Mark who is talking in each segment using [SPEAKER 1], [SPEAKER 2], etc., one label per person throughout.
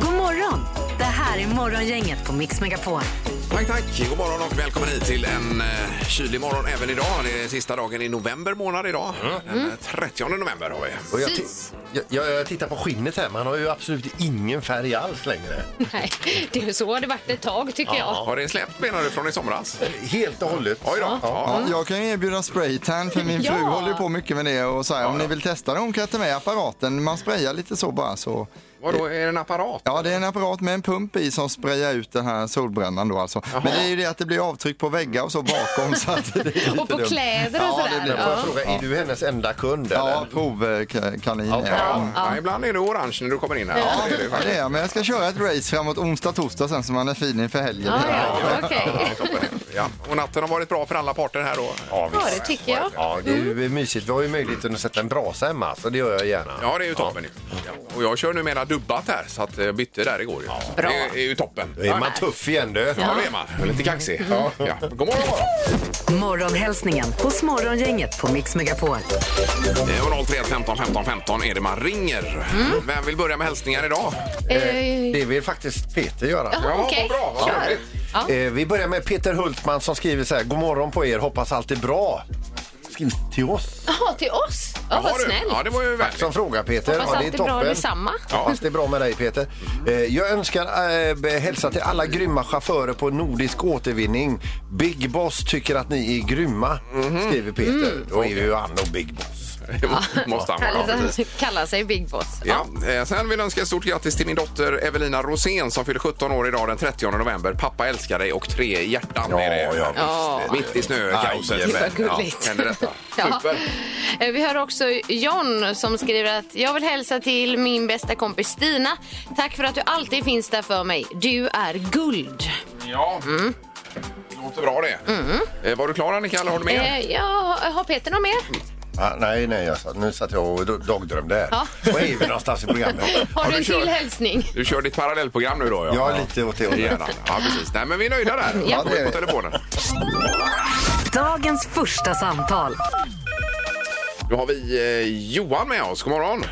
[SPEAKER 1] God morgon! Det här är Morgongänget på Mix Megapol.
[SPEAKER 2] Tack, tack. God morgon och välkommen hit till en eh, kylig morgon även idag. Det är sista dagen i november månad idag. Den eh, 30 november har vi.
[SPEAKER 3] Och jag, ti- jag, jag, jag tittar på skinnet här, man har ju absolut ingen färg alls längre.
[SPEAKER 4] Nej, det är så har det varit ett tag tycker jag.
[SPEAKER 2] Har det släppt menar du från i somras?
[SPEAKER 3] Helt och hållet.
[SPEAKER 2] Oj då. Ja.
[SPEAKER 5] Ja, jag kan ju erbjuda spraytan för min
[SPEAKER 4] Ja.
[SPEAKER 5] fru håller ju på mycket med det och så här, om ni vill testa det hon kan ta med apparaten. Man sprayar lite så bara så.
[SPEAKER 2] Vadå, är det en apparat?
[SPEAKER 5] Ja, det är en apparat med en pump i som sprayar ut den här solbrännan då alltså. Men det är ju det att det blir avtryck på väggar och så bakom så att det är lite
[SPEAKER 4] Och på
[SPEAKER 5] dumt.
[SPEAKER 4] kläder och
[SPEAKER 5] Ja, det
[SPEAKER 4] sådär.
[SPEAKER 5] blir-
[SPEAKER 3] Men får jag fråga, är du hennes enda kund eller?
[SPEAKER 5] Ja, provkanin.
[SPEAKER 3] Ja,
[SPEAKER 5] Ja.
[SPEAKER 2] Ja, ibland är det orange när du kommer in här. Ja, det är det
[SPEAKER 5] Ja,
[SPEAKER 2] faktiskt.
[SPEAKER 5] det är jag. Men jag ska köra ett race framåt onsdag, torsdag sen så man är fin inför helgen.
[SPEAKER 4] Ja, ja, okej.
[SPEAKER 2] Ja, toppen. Ja. Och natten har varit bra för alla parter här då?
[SPEAKER 3] Ja,
[SPEAKER 4] Ja, det tycker jag.
[SPEAKER 3] Ja, det är ju mysigt. Vi har ju möjligheten att sätta en brasa hemma, så det gör jag gärna.
[SPEAKER 2] Ja, det är ju toppen. ju. Ja. Och jag kör numera dubbat här, så att jag bytte där igår. ju. Så
[SPEAKER 4] Bra.
[SPEAKER 2] Det är ju toppen.
[SPEAKER 3] Då är man tuff igen du.
[SPEAKER 2] Ja, det är man. Lite kaxig. Ja. Ja. God morgon, god morgon.
[SPEAKER 1] Morgonhälsningen hos Morgongänget på Mix Megapol.
[SPEAKER 2] Eh, och 031 15 15 15 är det man ringer.
[SPEAKER 4] Mm.
[SPEAKER 2] Vem vill börja med hälsningar idag?
[SPEAKER 4] Eh,
[SPEAKER 3] Det vill faktiskt Peter göra.
[SPEAKER 4] Ja,
[SPEAKER 2] vad
[SPEAKER 4] okej.
[SPEAKER 2] bra, vad
[SPEAKER 4] Kör.
[SPEAKER 2] trevligt.
[SPEAKER 4] Ja.
[SPEAKER 3] Eh, vi börjar med Peter Hultman som skriver så här. God morgon på er, hoppas allt är bra. Skriv till oss.
[SPEAKER 4] Jaha, till oss? Ja, vad
[SPEAKER 2] Har du?
[SPEAKER 4] snällt.
[SPEAKER 2] Ja, det var ju vänligt.
[SPEAKER 3] Som fråga Peter.
[SPEAKER 4] Hoppas allt är bra detsamma.
[SPEAKER 3] Ja. Fast det är bra med dig Peter. Eh, jag önskar eh, be- hälsa till alla grymma chaufförer på Nordisk återvinning. Big Boss tycker att ni är grymma,
[SPEAKER 4] Mhm.
[SPEAKER 3] skriver Peter.
[SPEAKER 4] Mm.
[SPEAKER 3] Då är ju han nog Big Boss.
[SPEAKER 2] Det måste han vara.
[SPEAKER 4] Härligt
[SPEAKER 2] Ja,
[SPEAKER 4] att
[SPEAKER 2] precis.
[SPEAKER 4] kalla sig Big Boss.
[SPEAKER 2] Ja, eh, sen vill jag önska stort grattis till min dotter Evelina Rosén som fyller 17 år idag den 30 november. Pappa älskar dig och tre hjärtan är det.
[SPEAKER 3] ja, visst.
[SPEAKER 4] Ja.
[SPEAKER 2] Mitt i snökaoset.
[SPEAKER 3] Aj,
[SPEAKER 2] men,
[SPEAKER 4] vad gulligt.
[SPEAKER 2] Ja, händer detta.
[SPEAKER 4] Ja.
[SPEAKER 2] Super.
[SPEAKER 4] Eh, Vi har också John som skriver att jag vill hälsa till min bästa kompis Stina. Tack för att du alltid finns där för mig. Du är guld.
[SPEAKER 2] Ja. Låter bra det. Eh, Var du klar Annika eller har du mer?
[SPEAKER 4] Eh, ja, har Peter något mer?
[SPEAKER 3] Ah, nej, nej, jag satt, nu satt jag och do- dagdrömde här.
[SPEAKER 4] Ja.
[SPEAKER 3] Var är vi någonstans i programmet?
[SPEAKER 4] Har du en
[SPEAKER 2] kört?
[SPEAKER 4] till hälsning?
[SPEAKER 2] Du kör ditt parallellprogram nu då?
[SPEAKER 3] Ja, lite åt det hållet.
[SPEAKER 2] Gärna. Ja, precis. Nej, men vi är nöjda där.
[SPEAKER 4] Ja.
[SPEAKER 2] Kom in på telefonen.
[SPEAKER 1] Dagens första samtal.
[SPEAKER 2] Då har vi eh, Johan med oss. God morgon.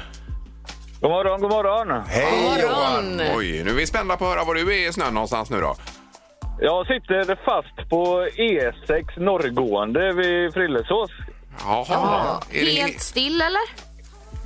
[SPEAKER 6] God morgon, god morgon.
[SPEAKER 3] Hej Johan!
[SPEAKER 2] Oj, nu är vi spända på att höra var du är i snön någonstans nu då.
[SPEAKER 6] Jag sitter fast på E6 norrgående vid Frillesås.
[SPEAKER 2] Jaha. Är det-
[SPEAKER 4] Helt still eller?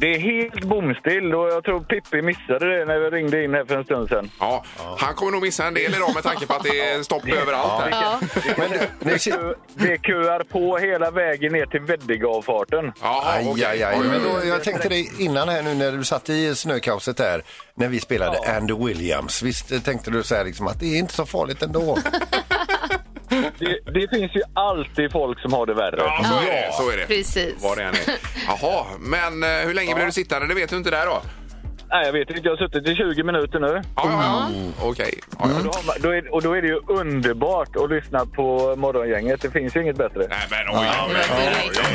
[SPEAKER 6] Det är helt bomstill och jag tror Pippi missade det när vi ringde in här för en stund sedan.
[SPEAKER 2] Ja, han kommer nog missa en del idag med tanke på att det är stopp överallt. Här.
[SPEAKER 4] Ja.
[SPEAKER 3] Men du, nu sit-
[SPEAKER 6] Det kuar på hela vägen ner till Veddigavfarten.
[SPEAKER 2] Jaha,
[SPEAKER 3] Aj,
[SPEAKER 2] okej.
[SPEAKER 3] aj, Mm. aj. Men då, jag tänkte det innan här nu när du satt i snökaoset där när vi spelade Andy Williams. Visst eh, tänkte du så här liksom att det är inte så farligt ändå?
[SPEAKER 6] Det, det finns ju alltid folk som har det värre.
[SPEAKER 2] Ja, så är det. Så är det.
[SPEAKER 4] Precis.
[SPEAKER 2] Vad det än är. Jaha, men eh, hur länge blev du sittande? Det vet du inte där då?
[SPEAKER 6] Nej, jag vet inte. Jag har suttit i 20 minuter nu.
[SPEAKER 2] Ja, ja,
[SPEAKER 4] Mm.
[SPEAKER 2] ja. Okej. Ja, ja.
[SPEAKER 6] Då har man- Då är, och då är det ju underbart att lyssna på Morgongänget. Det finns ju inget bättre.
[SPEAKER 2] Nej, men oj, oj, oj, oj, oj,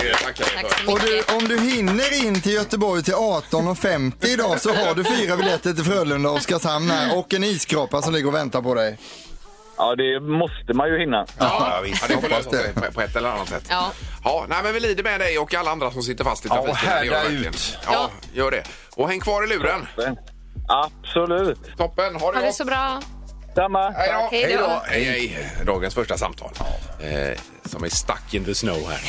[SPEAKER 2] oj. Tackar vi
[SPEAKER 4] Tack
[SPEAKER 2] för.
[SPEAKER 4] så
[SPEAKER 5] Och
[SPEAKER 4] mycket.
[SPEAKER 5] du, om du hinner in till Göteborg till 18.50 idag så har du fyra biljetter till Frölunda och Oskarshamn här och en isskrapa som ligger och väntar på dig.
[SPEAKER 6] Ja, det måste man ju hinna.
[SPEAKER 2] Ja,
[SPEAKER 3] visst.
[SPEAKER 2] ja, det får
[SPEAKER 5] Hoppas
[SPEAKER 2] lösa sig
[SPEAKER 5] det.
[SPEAKER 2] på- på ett eller annat sätt.
[SPEAKER 4] Ja.
[SPEAKER 2] Ja, nej, men vi lider med dig och alla andra som sitter fast i
[SPEAKER 3] Ja,
[SPEAKER 2] trafiken. Det gör
[SPEAKER 3] härda
[SPEAKER 2] vi verkligen.
[SPEAKER 3] ut.
[SPEAKER 2] Ja, gör det. Och häng kvar i luren.
[SPEAKER 6] Absolut.
[SPEAKER 2] Toppen, ha det
[SPEAKER 4] Ha det
[SPEAKER 2] gott.
[SPEAKER 4] så bra.
[SPEAKER 6] Samma.
[SPEAKER 2] Hej då.
[SPEAKER 4] Hej då.
[SPEAKER 2] Hej, hej. Dagens första samtal. Eh, som är stuck in the snow här.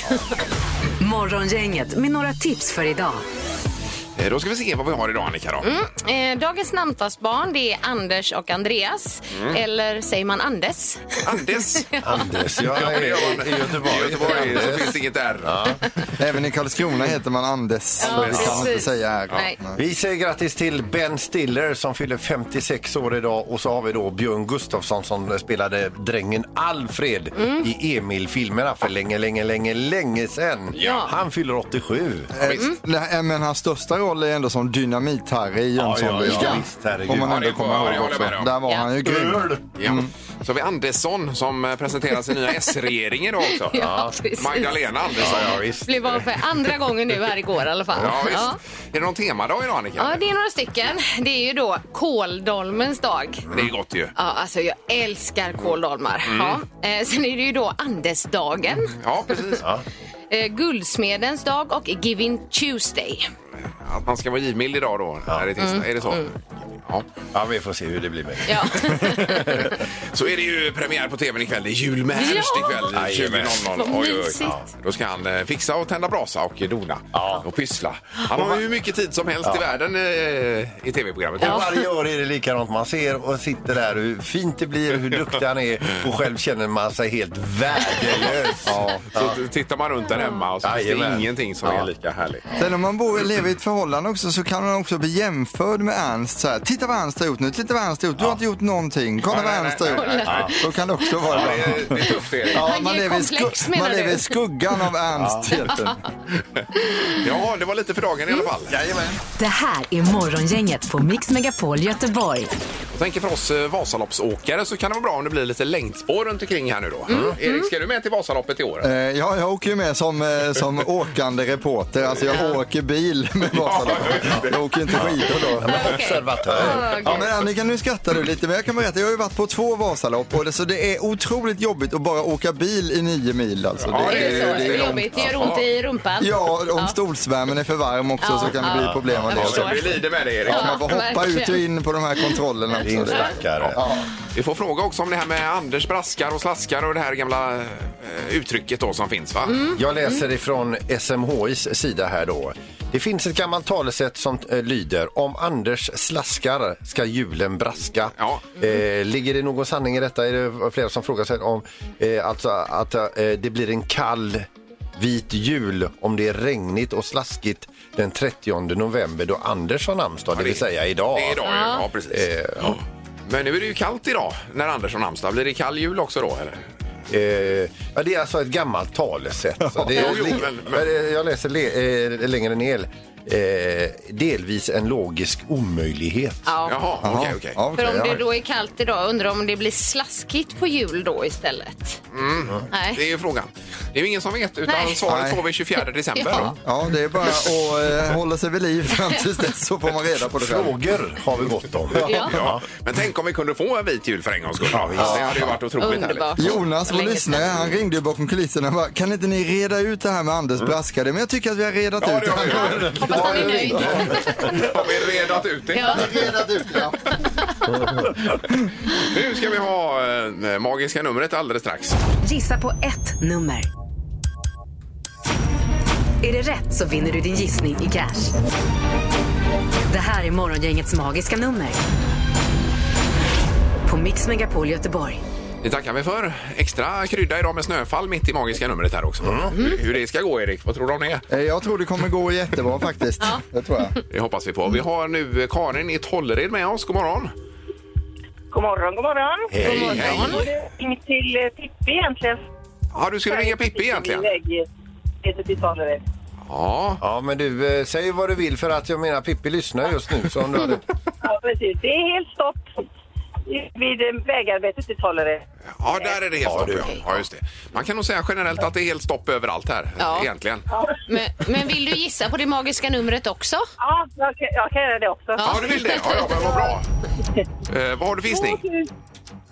[SPEAKER 1] Morgongänget med några tips för idag.
[SPEAKER 2] Eh, Då ska vi se vad vi har idag Annika då.
[SPEAKER 4] Eh, dagens namnsdagsbarn det är Anders och Andreas.
[SPEAKER 2] Mm.
[SPEAKER 4] Eller säger man Andes?
[SPEAKER 2] Andes.
[SPEAKER 3] Anders, jag
[SPEAKER 2] Ja,
[SPEAKER 3] är
[SPEAKER 2] det gör man.
[SPEAKER 3] i Göteborg.
[SPEAKER 2] I Göteborg så
[SPEAKER 3] Anders.
[SPEAKER 2] finns det inget där.
[SPEAKER 5] Även i Karlskrona heter man Andes.
[SPEAKER 4] Ja,
[SPEAKER 5] det kan man inte
[SPEAKER 4] precis.
[SPEAKER 5] säga här.
[SPEAKER 4] Nej.
[SPEAKER 3] Vi säger grattis till Ben Stiller som fyller 56 år idag och så har vi då Björn Gustafsson som spelade drängen Alfred i Emil-filmerna för länge, länge, länge, länge sedan.
[SPEAKER 4] Ja.
[SPEAKER 3] Han fyller 87.
[SPEAKER 5] Eh, nej, Men hans största roll är ändå som Dynamit-Harry i
[SPEAKER 3] ja,
[SPEAKER 5] Jönssonligan.
[SPEAKER 3] visst, herregud.
[SPEAKER 5] Om man
[SPEAKER 2] Ja, det
[SPEAKER 5] ändå
[SPEAKER 2] får jag-
[SPEAKER 5] kommer
[SPEAKER 2] jag
[SPEAKER 5] ihåg
[SPEAKER 2] håller
[SPEAKER 5] också.
[SPEAKER 2] med om.
[SPEAKER 5] Där var
[SPEAKER 4] Ja.
[SPEAKER 5] han ju grym.
[SPEAKER 2] Ja.
[SPEAKER 3] Mm.
[SPEAKER 2] Så har vi Andersson som eh, presenterar sin nya S-regering idag också.
[SPEAKER 4] Ja, precis.
[SPEAKER 2] Magdalena Andersson.
[SPEAKER 3] Ja, visst.
[SPEAKER 4] blev av för andra gången nu här igår i alla fall.
[SPEAKER 2] Ja, visst.
[SPEAKER 4] Ja.
[SPEAKER 2] Är det någon temadag idag Annika?
[SPEAKER 4] Ja, det är några stycken. Det är ju då kåldolmens dag.
[SPEAKER 2] det är gott ju.
[SPEAKER 4] Ja, alltså jag älskar kåldolmar.
[SPEAKER 2] Mm.
[SPEAKER 4] Ja. Eh, sen är det ju då Andesdagen,
[SPEAKER 2] Ja, precis.
[SPEAKER 4] eh, Guldsmedens dag och Giving Tuesday.
[SPEAKER 2] Att man ska vara givmild idag då, när det är tisdag. Är det så? Ja.
[SPEAKER 3] Ja, vi får se hur det blir med det.
[SPEAKER 4] Ja.
[SPEAKER 2] Så är det ju premiär på tvn ikväll. Det är jul med Ernst
[SPEAKER 4] Ja!
[SPEAKER 2] ikväll
[SPEAKER 3] Jajamän.
[SPEAKER 2] 20.00.
[SPEAKER 4] Vad mysigt.
[SPEAKER 2] Då ska han eh, fixa och tända brasa och dona och pyssla. Han har ju hur mycket tid som helst i världen eh, i tv-programmet.
[SPEAKER 3] Och varje år är det likadant. Man ser och sitter där hur fint det blir, hur duktig han är och själv känner man sig helt värdelös. Ja.
[SPEAKER 2] Så t- tittar man runt där hemma och så finns det
[SPEAKER 3] Jajamän.
[SPEAKER 2] ingenting som är lika härligt.
[SPEAKER 5] Sen om man bor, lever i ett förhållande också så kan man också bli jämförd med Ernst. Så här, titta vad Ernst har gjort nu, titta vad Ernst har gjort. Du har inte gjort någonting, kolla
[SPEAKER 2] Nej,
[SPEAKER 5] vad
[SPEAKER 2] nej,
[SPEAKER 5] Ernst har
[SPEAKER 2] nej,
[SPEAKER 5] gjort.
[SPEAKER 2] nej,
[SPEAKER 5] Ja, Då kan det också vara
[SPEAKER 2] Ja,
[SPEAKER 5] bra.
[SPEAKER 2] det, är, det är tufft Erik.
[SPEAKER 5] Ja,
[SPEAKER 4] Han ger
[SPEAKER 5] i
[SPEAKER 4] komplex,
[SPEAKER 5] man
[SPEAKER 4] menar
[SPEAKER 5] lever
[SPEAKER 4] du?
[SPEAKER 5] i skuggan av Ernst. helt enkelt.
[SPEAKER 2] Ja, det var lite för dagen i alla fall.
[SPEAKER 1] Det här är Morgongänget på Mix Megapol Göteborg.
[SPEAKER 2] Jag tänker för oss eh, Vasaloppsåkare så kan det vara bra om det blir lite längdspår runt omkring här nu då. Eh, Erik, ska du med till Vasaloppet i år?
[SPEAKER 5] Eh, Ja, jag åker ju med som, eh, som åkande reporter. Alltså jag åker bil med Vasaloppet. Jag åker ju inte skidor då.
[SPEAKER 4] Okej. Ah,
[SPEAKER 3] Observatör.
[SPEAKER 4] Okej.
[SPEAKER 5] Ja, men Annika, nu skrattar du lite, men jag kan berätta, jag har ju varit på två Vasalopp och det, så det är otroligt jobbigt att bara åka bil i nio mil alltså.
[SPEAKER 2] Ja,
[SPEAKER 4] Är det så? Det är jobbigt. Det gör ont i rumpan.
[SPEAKER 5] Ja, om stolsvärmen är för varm också
[SPEAKER 4] Ja,
[SPEAKER 5] så kan det bli
[SPEAKER 4] ja.
[SPEAKER 5] problem med
[SPEAKER 4] Jag
[SPEAKER 5] det.
[SPEAKER 4] förstår.
[SPEAKER 2] Vi lider med dig Erik.
[SPEAKER 5] Ja, man får hoppa
[SPEAKER 4] verkligen.
[SPEAKER 5] ut och in på de här kontrollerna
[SPEAKER 3] Din
[SPEAKER 5] också.
[SPEAKER 3] stackare.
[SPEAKER 2] Vi får fråga också om det här med Anders braskar och slaskar och det här gamla eh, uttrycket då som finns va?
[SPEAKER 3] Jag läser ifrån SMHIs sida här då. Det finns ett gammalt talesätt som eh, lyder om Anders slaskar ska julen braska.
[SPEAKER 2] Ja.
[SPEAKER 3] Eh, ligger det någon sanning i detta? Är det flera som frågar sig om eh, alltså att eh, det blir en kall vit jul om det är regnigt och slaskigt den 30 november då Anders har namnsdag, det vill säga idag.
[SPEAKER 2] Det är idag, ja. ja precis. Ja. Men nu är det ju kallt idag när Anders har namnsdag. Blir det kall jul också då eller?
[SPEAKER 3] Eh, ja, det är alltså ett gammalt talesätt. Så det är,
[SPEAKER 2] Jo, jo, men- men-
[SPEAKER 3] men, eh, Jag läser le, eh, längre ner. Eh, delvis en logisk omöjlighet.
[SPEAKER 4] Ja.
[SPEAKER 2] Jaha, okej okej.
[SPEAKER 5] Ja, okej,
[SPEAKER 4] För om
[SPEAKER 5] ja.
[SPEAKER 4] det då är kallt idag, undrar om det blir slaskigt på jul då istället?
[SPEAKER 2] Det är
[SPEAKER 4] Nej.
[SPEAKER 2] ju frågan. Det är ju ingen som vet utan
[SPEAKER 4] Nej.
[SPEAKER 2] svaret
[SPEAKER 5] Nej.
[SPEAKER 2] får vi 24 december.
[SPEAKER 4] Ja.
[SPEAKER 2] då.
[SPEAKER 5] Ja, det är bara att eh, hålla sig vid liv fram tills dess så får man reda på det själv.
[SPEAKER 3] Frågor har vi gott om.
[SPEAKER 4] Ja.
[SPEAKER 2] Ja. Men tänk om vi kunde få en vit jul för en gångs skull. Det hade ju varit otroligt
[SPEAKER 4] Underbart.
[SPEAKER 2] härligt.
[SPEAKER 5] Jonas, vår
[SPEAKER 4] Länge
[SPEAKER 5] lyssnare,
[SPEAKER 4] sedan.
[SPEAKER 5] Alltså, han ringde ju bakom kulisserna och bara, kan inte ni reda ut det här med Anders braskade? Men jag tycker att vi har redat
[SPEAKER 2] Ja,
[SPEAKER 5] ut
[SPEAKER 2] det
[SPEAKER 5] det.
[SPEAKER 2] har vi
[SPEAKER 5] här.
[SPEAKER 2] gjort.
[SPEAKER 4] Hoppas han är nöjd.
[SPEAKER 2] Har vi redat ut det?
[SPEAKER 4] Ja.
[SPEAKER 5] Redat ut, ja.
[SPEAKER 2] Nu ska vi ha eh, magiska numret alldeles strax.
[SPEAKER 1] Gissa på ett nummer. Är det rätt så vinner du din gissning i cash. Det här är Morgongängets magiska nummer. På Mix Megapol Göteborg.
[SPEAKER 2] Det tackar vi för. Extra krydda idag med snöfall mitt i magiska numret här också. Hur, hur det ska gå Erik, vad tror du om det?
[SPEAKER 5] Eh, Jag tror det kommer gå jättebra faktiskt. Det tror jag.
[SPEAKER 2] Det hoppas vi på. Vi har nu eh, Karin i Tollered med oss. God morgon!
[SPEAKER 7] God morgon, god morgon.
[SPEAKER 2] Hej,
[SPEAKER 4] morgon.
[SPEAKER 7] Inget till eh, Pippi egentligen. eh,
[SPEAKER 2] Ja, du skulle ringa Pippi egentligen?
[SPEAKER 7] Heter till Tollered.
[SPEAKER 2] Ja.
[SPEAKER 3] Ja, men du, eh, säg vad du vill för att jag menar Pippi lyssnar just nu. Så om du hade...
[SPEAKER 7] Ja, precis. Det är helt stopp vid eh, vägarbetet till Tollered.
[SPEAKER 2] ja, där är det helt
[SPEAKER 3] Ja,
[SPEAKER 2] stopp.
[SPEAKER 3] du.
[SPEAKER 2] Ja. Ja, just det. Man kan nog säga generellt att det är helt stopp överallt här
[SPEAKER 4] Ja.
[SPEAKER 2] egentligen.
[SPEAKER 4] Men, men vill du gissa på det magiska numret också?
[SPEAKER 7] Ja, jag kan, jag kan göra det också.
[SPEAKER 2] Ja, du vill det? Ja, ja men vad bra. Eh, vad har du för gissning?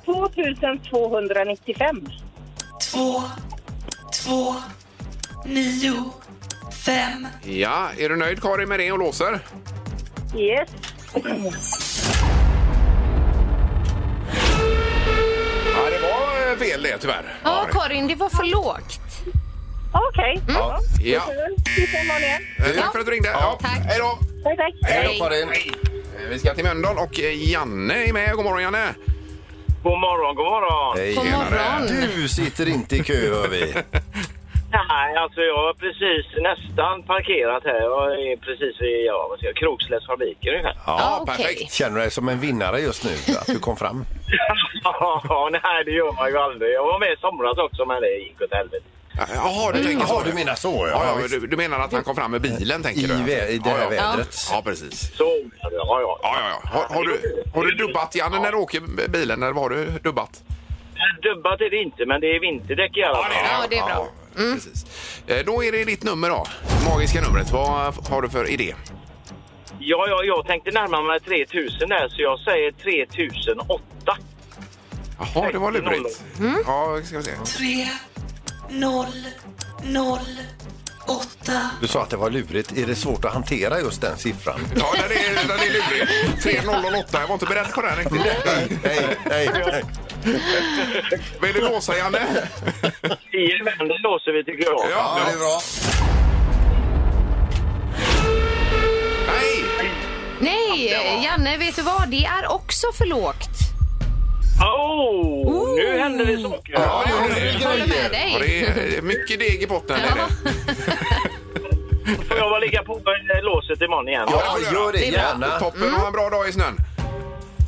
[SPEAKER 7] 2295.
[SPEAKER 2] Ja, är du nöjd Karin med det och låser?
[SPEAKER 7] Yes.
[SPEAKER 2] Ja, det var eh, fel det tyvärr.
[SPEAKER 4] Ja, Karin, det var för lågt.
[SPEAKER 7] Okej.
[SPEAKER 2] Mm.
[SPEAKER 7] Ja.
[SPEAKER 2] Ja.
[SPEAKER 7] Tusen morgon igen.
[SPEAKER 2] Eh, Tack för att du ringde. Ja.
[SPEAKER 4] Tack.
[SPEAKER 2] Hej då!
[SPEAKER 7] Tack, tack.
[SPEAKER 2] Hej
[SPEAKER 4] Hej.
[SPEAKER 2] då Karin! Eh, Vi ska till Mölndal och eh, Janne är med. God morgon Janne!
[SPEAKER 6] God morgon, god morgon.
[SPEAKER 3] Hej,
[SPEAKER 4] God
[SPEAKER 3] tjenare.
[SPEAKER 4] morgon.
[SPEAKER 3] Du sitter inte i kö, hör vi.
[SPEAKER 6] Nej, alltså jag har precis nästan parkerat här. Jag är precis vid ja, vad ska jag, Krokslätts fabrik ungefär.
[SPEAKER 4] Ja, okej.
[SPEAKER 2] perfekt.
[SPEAKER 3] Känner du dig som en vinnare just nu, att du kom fram?
[SPEAKER 6] Ja, nej det gör man ju aldrig. Jag var med i somras också men det gick åt helvete.
[SPEAKER 2] Jaha, Mm. du tänker så.
[SPEAKER 3] Jaha, du menar så, ja.
[SPEAKER 2] ja, ja,
[SPEAKER 3] Visst.
[SPEAKER 2] du, du menar att han kom fram med bilen, tänker
[SPEAKER 3] I
[SPEAKER 2] du?
[SPEAKER 3] vä- i det här
[SPEAKER 2] ja, ja.
[SPEAKER 3] vädret.
[SPEAKER 2] Ja, precis.
[SPEAKER 6] Så, ja, ja.
[SPEAKER 2] Ja, ja, ja. Har, har, du, har du dubbat, Janne, när du åker bilen? När var du dubbat?
[SPEAKER 6] Dubbat är det inte, men det är vinterdäck i alla fall.
[SPEAKER 4] Ja, det är bra. Mm.
[SPEAKER 2] Precis. Eh, Då är det ditt nummer då. Magiska numret. Vad har du för idé?
[SPEAKER 6] Ja, ja, jag tänkte närma mig 3000 där, så jag säger 3008.
[SPEAKER 2] Jaha, det var lurigt.
[SPEAKER 4] Mm.
[SPEAKER 2] Ja, ska vi se.
[SPEAKER 3] Du sa att det var lurigt. Är det svårt att hantera just den siffran?
[SPEAKER 2] Ja, den är, den är lurig. 3008. Jag var inte beredd på den riktigt.
[SPEAKER 3] nej, nej, nej.
[SPEAKER 2] Vill du låsa, Janne?
[SPEAKER 6] I vänder låser vi, tycker jag.
[SPEAKER 2] Ja,
[SPEAKER 3] det är bra.
[SPEAKER 2] Nej!
[SPEAKER 4] Nej, Janne, vet du vad? Det är också för lågt.
[SPEAKER 6] Oh, Nu händer det saker.
[SPEAKER 2] Ja, det gjorde det.
[SPEAKER 4] Håller med
[SPEAKER 2] Ja,
[SPEAKER 4] dig.
[SPEAKER 2] det är mycket deg i botten. Är det.
[SPEAKER 6] Får jag bara ligga på eh, låset imorgon igen?
[SPEAKER 3] Ja, gör det
[SPEAKER 4] Det är bra.
[SPEAKER 3] gärna.
[SPEAKER 2] Toppen, ha
[SPEAKER 4] Mm.
[SPEAKER 2] en bra dag i snön.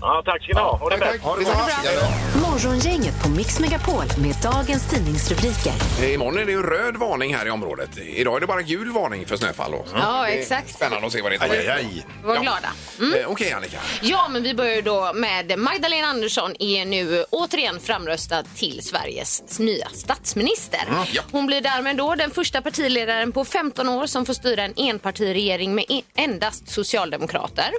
[SPEAKER 6] Ja, tack ska ni ha. Ha det bäst.
[SPEAKER 3] Ha det bra.
[SPEAKER 1] Morgongänget på Mix Megapol med dagens tidningsrubriker.
[SPEAKER 2] Eh, Imorgon är det ju röd varning här i området. Idag är det bara gul varning för snöfall. Då.
[SPEAKER 4] Ja,
[SPEAKER 2] Det är
[SPEAKER 4] exakt.
[SPEAKER 2] Spännande att se vad det tar
[SPEAKER 3] Aj, aj,
[SPEAKER 2] vägen.
[SPEAKER 3] aj.
[SPEAKER 4] Var
[SPEAKER 2] Ja.
[SPEAKER 4] glada.
[SPEAKER 2] Eh, Okej, Annika.
[SPEAKER 4] Ja, men vi börjar ju då med Magdalena Andersson är nu återigen framröstad till Sveriges nya statsminister.
[SPEAKER 2] ja.
[SPEAKER 4] Hon blir därmed då den första partiledaren på 15 år som får styra en enpartiregering med e- endast socialdemokrater.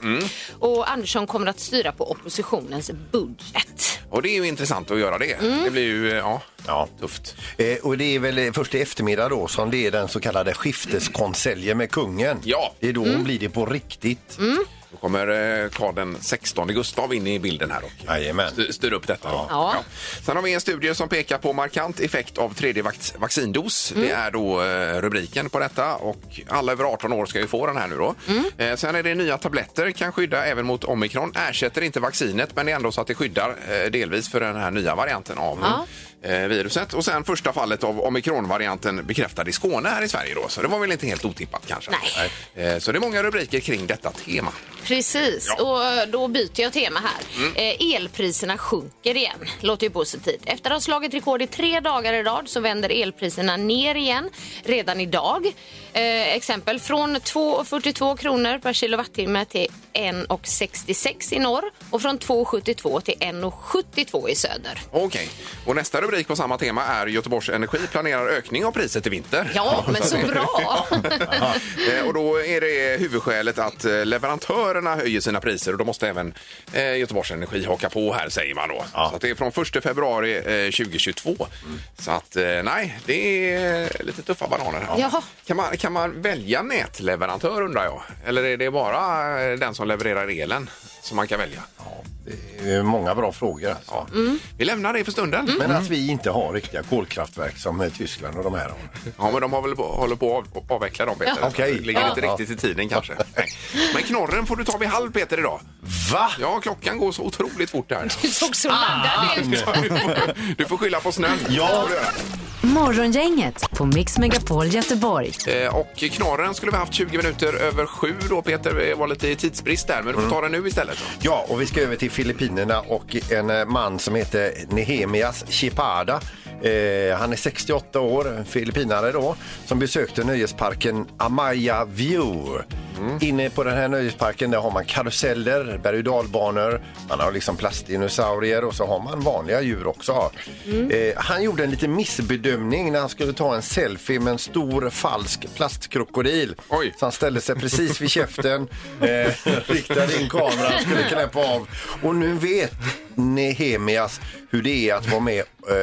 [SPEAKER 4] Och Andersson kommer att styra på oppositionens budget.
[SPEAKER 2] Och det är ju intressant att göra det. Det blir ju eh, ja,
[SPEAKER 3] Ja.
[SPEAKER 2] tufft.
[SPEAKER 3] Eh, och det är väl eh, först i eftermiddag då som det är den så kallade skifteskonseljen med kungen.
[SPEAKER 2] Ja.
[SPEAKER 3] Det är då hon blir det på riktigt.
[SPEAKER 2] Då kommer eh, Karl den 16 Gustav in i bilden här och
[SPEAKER 3] Jajamän.
[SPEAKER 2] styr, styr upp detta. då.
[SPEAKER 4] Ja.
[SPEAKER 2] Sen har vi en studie som pekar på markant effekt av tredje vac- vaccindos. Det
[SPEAKER 4] Mm.
[SPEAKER 2] är då eh, rubriken på detta och alla över 18 år ska ju få den här nu då.
[SPEAKER 4] Mm.
[SPEAKER 2] Eh, sen är det nya tabletter, kan skydda även mot omikron. Ersätter inte vaccinet men det är ändå så att det skyddar eh, delvis för den här nya varianten av eh, viruset. Och sen första fallet av omikronvarianten bekräftad i Skåne här i Sverige då. Så det var väl inte helt otippat kanske.
[SPEAKER 4] Nej.
[SPEAKER 2] Eh, så det är många rubriker kring detta tema.
[SPEAKER 4] Precis,
[SPEAKER 2] Ja.
[SPEAKER 4] och då byter jag tema här. Eh, elpriserna sjunker igen. Låter ju positivt. Efter att ha slagit rekord i tre dagar i rad så vänder elpriserna ner igen redan idag. Eh, exempel från 2,42 kronor per kilowattimme till 1,66 i norr och från 2,72 till 1,72 i söder.
[SPEAKER 2] Okej. Och nästa rubrik på samma tema är Göteborgs Energi planerar ökning av priset i vinter.
[SPEAKER 4] Ja, men så bra!
[SPEAKER 2] Eh, och då är det huvudskälet att eh, leverantörerna höjer sina priser och då måste även eh, Göteborgs Energi haka på här säger man då. Så att det är från 1 februari eh, 2022. Så att eh, nej, det är lite tuffa bananer här.
[SPEAKER 4] Jaha.
[SPEAKER 2] Kan man, kan man välja nätleverantör undrar jag? Eller är det bara eh, den som levererar elen som man kan välja?
[SPEAKER 3] Det är många bra frågor. Alltså.
[SPEAKER 2] Ja. Mm. Vi lämnar det för stunden.
[SPEAKER 4] Mm.
[SPEAKER 3] Men att vi inte har riktiga kolkraftverk som eh, Tyskland och de här har.
[SPEAKER 2] Ja, men de har väl på, håller på att av, avveckla dem, Peter.
[SPEAKER 3] Ja. Okej.
[SPEAKER 2] Det ligger inte
[SPEAKER 3] Ja.
[SPEAKER 2] riktigt i tiden kanske. Nej. Men knorren får du ta vid halv, Peter, idag.
[SPEAKER 3] Va?
[SPEAKER 2] Ja, klockan går så otroligt fort här.
[SPEAKER 4] Du såg så laddad ut.
[SPEAKER 2] Du får, du får skylla på snön. Ja.
[SPEAKER 1] Morgongänget på Mix Megapol Göteborg.
[SPEAKER 2] Eh, Och knorren skulle vi haft 20 minuter över sju då, Peter. Det var lite tidsbrist där, men du får ta den nu istället. då.
[SPEAKER 3] Ja, och vi ska över till Filippinerna och en eh, man som heter Nehemias Chipada. Eh, han är 68 år, en filippinare då, som besökte nöjesparken Amaya View. Mm. Inne på den här nöjesparken där har man karuseller, berg och dalbanor, man har liksom plastdinosaurier och så har man vanliga djur också. Eh, han gjorde en liten missbedömning när han skulle ta en selfie med en stor falsk plastkrokodil.
[SPEAKER 2] Oj.
[SPEAKER 3] Så han ställde sig precis vid käften, eh, riktade in kameran, skulle knäppa av. Och nu vet Nehemias hur det är att vara med, eh,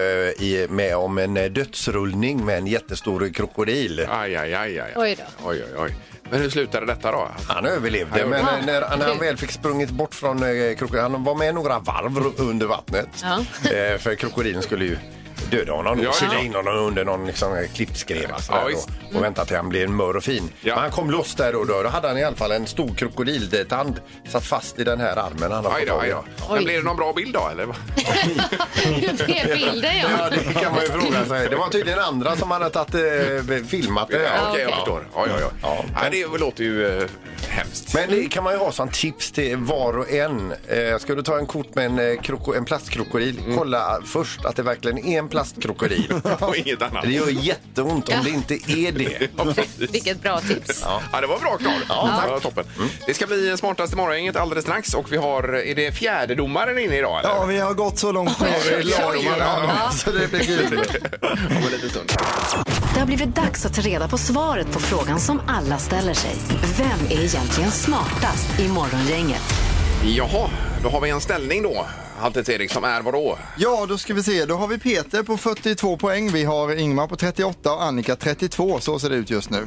[SPEAKER 3] i, med om en eh, dödsrullning med en jättestor krokodil.
[SPEAKER 2] Aj, aj, aj, aj.
[SPEAKER 4] Oj då.
[SPEAKER 2] Oj, oj, oj. Men hur slutade detta då?
[SPEAKER 3] Han överlevde, men eh, när, när han väl fick sprungit bort från eh, krokodilen, han var med några varv ru- under vattnet.
[SPEAKER 4] Ja.
[SPEAKER 3] Eh, för krokodilen skulle ju döda honom
[SPEAKER 2] Ja,
[SPEAKER 3] och sila
[SPEAKER 2] ja.
[SPEAKER 3] in honom under någon liksom, eh, klippskreva
[SPEAKER 2] Ja,
[SPEAKER 3] sådär
[SPEAKER 2] visst. Mm.
[SPEAKER 3] då, och vänta till han blev mör och fin.
[SPEAKER 2] Ja.
[SPEAKER 3] Men han kom loss där och då. Då hade han i alla fall en stor krokodiltand satt fast i den här armen han har
[SPEAKER 2] Aj
[SPEAKER 3] fått
[SPEAKER 2] då,
[SPEAKER 3] tag i.
[SPEAKER 2] aj då. Men
[SPEAKER 4] Oj.
[SPEAKER 2] blev det någon bra bild då, eller?
[SPEAKER 4] Det är bilden,
[SPEAKER 3] Ja,
[SPEAKER 4] ja.
[SPEAKER 3] det kan man ju fråga sig. Det var tydligen andra som hade tagit, eh, filmat det.
[SPEAKER 2] Ja,
[SPEAKER 3] här.
[SPEAKER 2] okej, jag förstår. Ja, ja, ja.
[SPEAKER 3] Ja.
[SPEAKER 2] Nej, det låter ju eh, hemskt.
[SPEAKER 3] Men det kan man ju ha som tips till var och en. Eh, ska du ta en kort med en, eh, kroko, en plastkrokodil, kolla först att det verkligen är en plastkrokodil.
[SPEAKER 2] Mm. Och inget annat.
[SPEAKER 3] det gör jätteont om det inte är det.
[SPEAKER 2] Ja, precis.
[SPEAKER 4] Vilket bra tips.
[SPEAKER 2] Ja. det var bra klar. Ja, det var toppen. Det ska bli smartaste morgongänget alldeles strax och vi har, är det fjärdedomaren inne idag eller?
[SPEAKER 5] Ja, vi har gått så långt ner i lagerna. Så det blir kul.
[SPEAKER 2] Om en liten stund.
[SPEAKER 1] Det har blivit dags att ta reda på svaret på frågan som alla ställer sig. Vem är egentligen smartast i Morgongänget?
[SPEAKER 2] Jaha, då har vi en ställning då. Halvtids-Erik som är vadå?
[SPEAKER 5] Ja, då ska vi se. Då har vi Peter på 42 poäng. Vi har Ingmar på 38 och Annika 32. Så ser det ut just nu.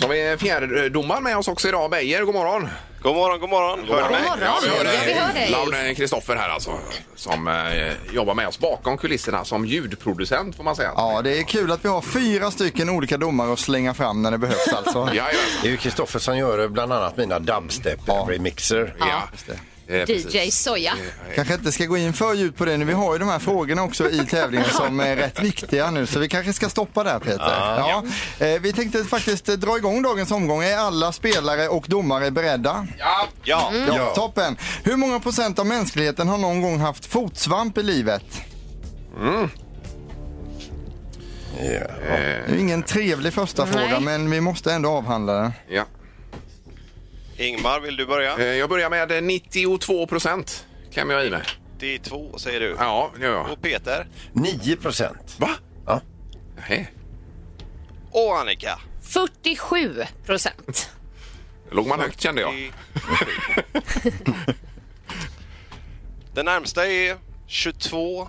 [SPEAKER 2] Som är fjärdedomaren med oss också idag, Beijer. God morgon!
[SPEAKER 6] God morgon, god morgon. Hör
[SPEAKER 4] God morgon. Ja, vi hör dig.
[SPEAKER 2] Laune Kristoffer här alltså, som eh, jobbar med oss bakom kulisserna som ljudproducent får man säga.
[SPEAKER 5] Ja, det är kul att vi har fyra stycken olika domare att slänga fram när det behövs alltså.
[SPEAKER 2] ja, ja.
[SPEAKER 3] Det är ju Kristoffer som gör eh, bland annat mina dubstep-remixer.
[SPEAKER 2] ja. Eh, precis.
[SPEAKER 4] DJ Soja.
[SPEAKER 5] Kanske inte ska gå in för djupt på det nu. Vi har ju de här frågorna också i tävlingen som är rätt viktiga nu. Så vi kanske ska stoppa där Peter. Ja. Eh, Vi tänkte faktiskt eh, dra igång dagens omgång. Är alla spelare och domare beredda?
[SPEAKER 2] Ja,
[SPEAKER 6] Ja,
[SPEAKER 5] Ja, toppen. Hur många procent av mänskligheten har någon gång haft fotsvamp i livet? Ja. Det är ingen trevlig första fråga, men vi måste ändå avhandla den.
[SPEAKER 2] ja.
[SPEAKER 6] Ingmar, vill du börja?
[SPEAKER 2] Eh, Jag börjar med eh, 92 procent. Klämmer jag i mig.
[SPEAKER 6] Det är två, säger du.
[SPEAKER 2] Ja, det gör jag.
[SPEAKER 6] Och Peter.
[SPEAKER 3] 9 procent.
[SPEAKER 2] Va?
[SPEAKER 3] Ja.
[SPEAKER 2] Nej,
[SPEAKER 6] Och Annika.
[SPEAKER 4] 47 procent.
[SPEAKER 2] låg man högt kände jag.
[SPEAKER 6] Det- Den närmsta är 22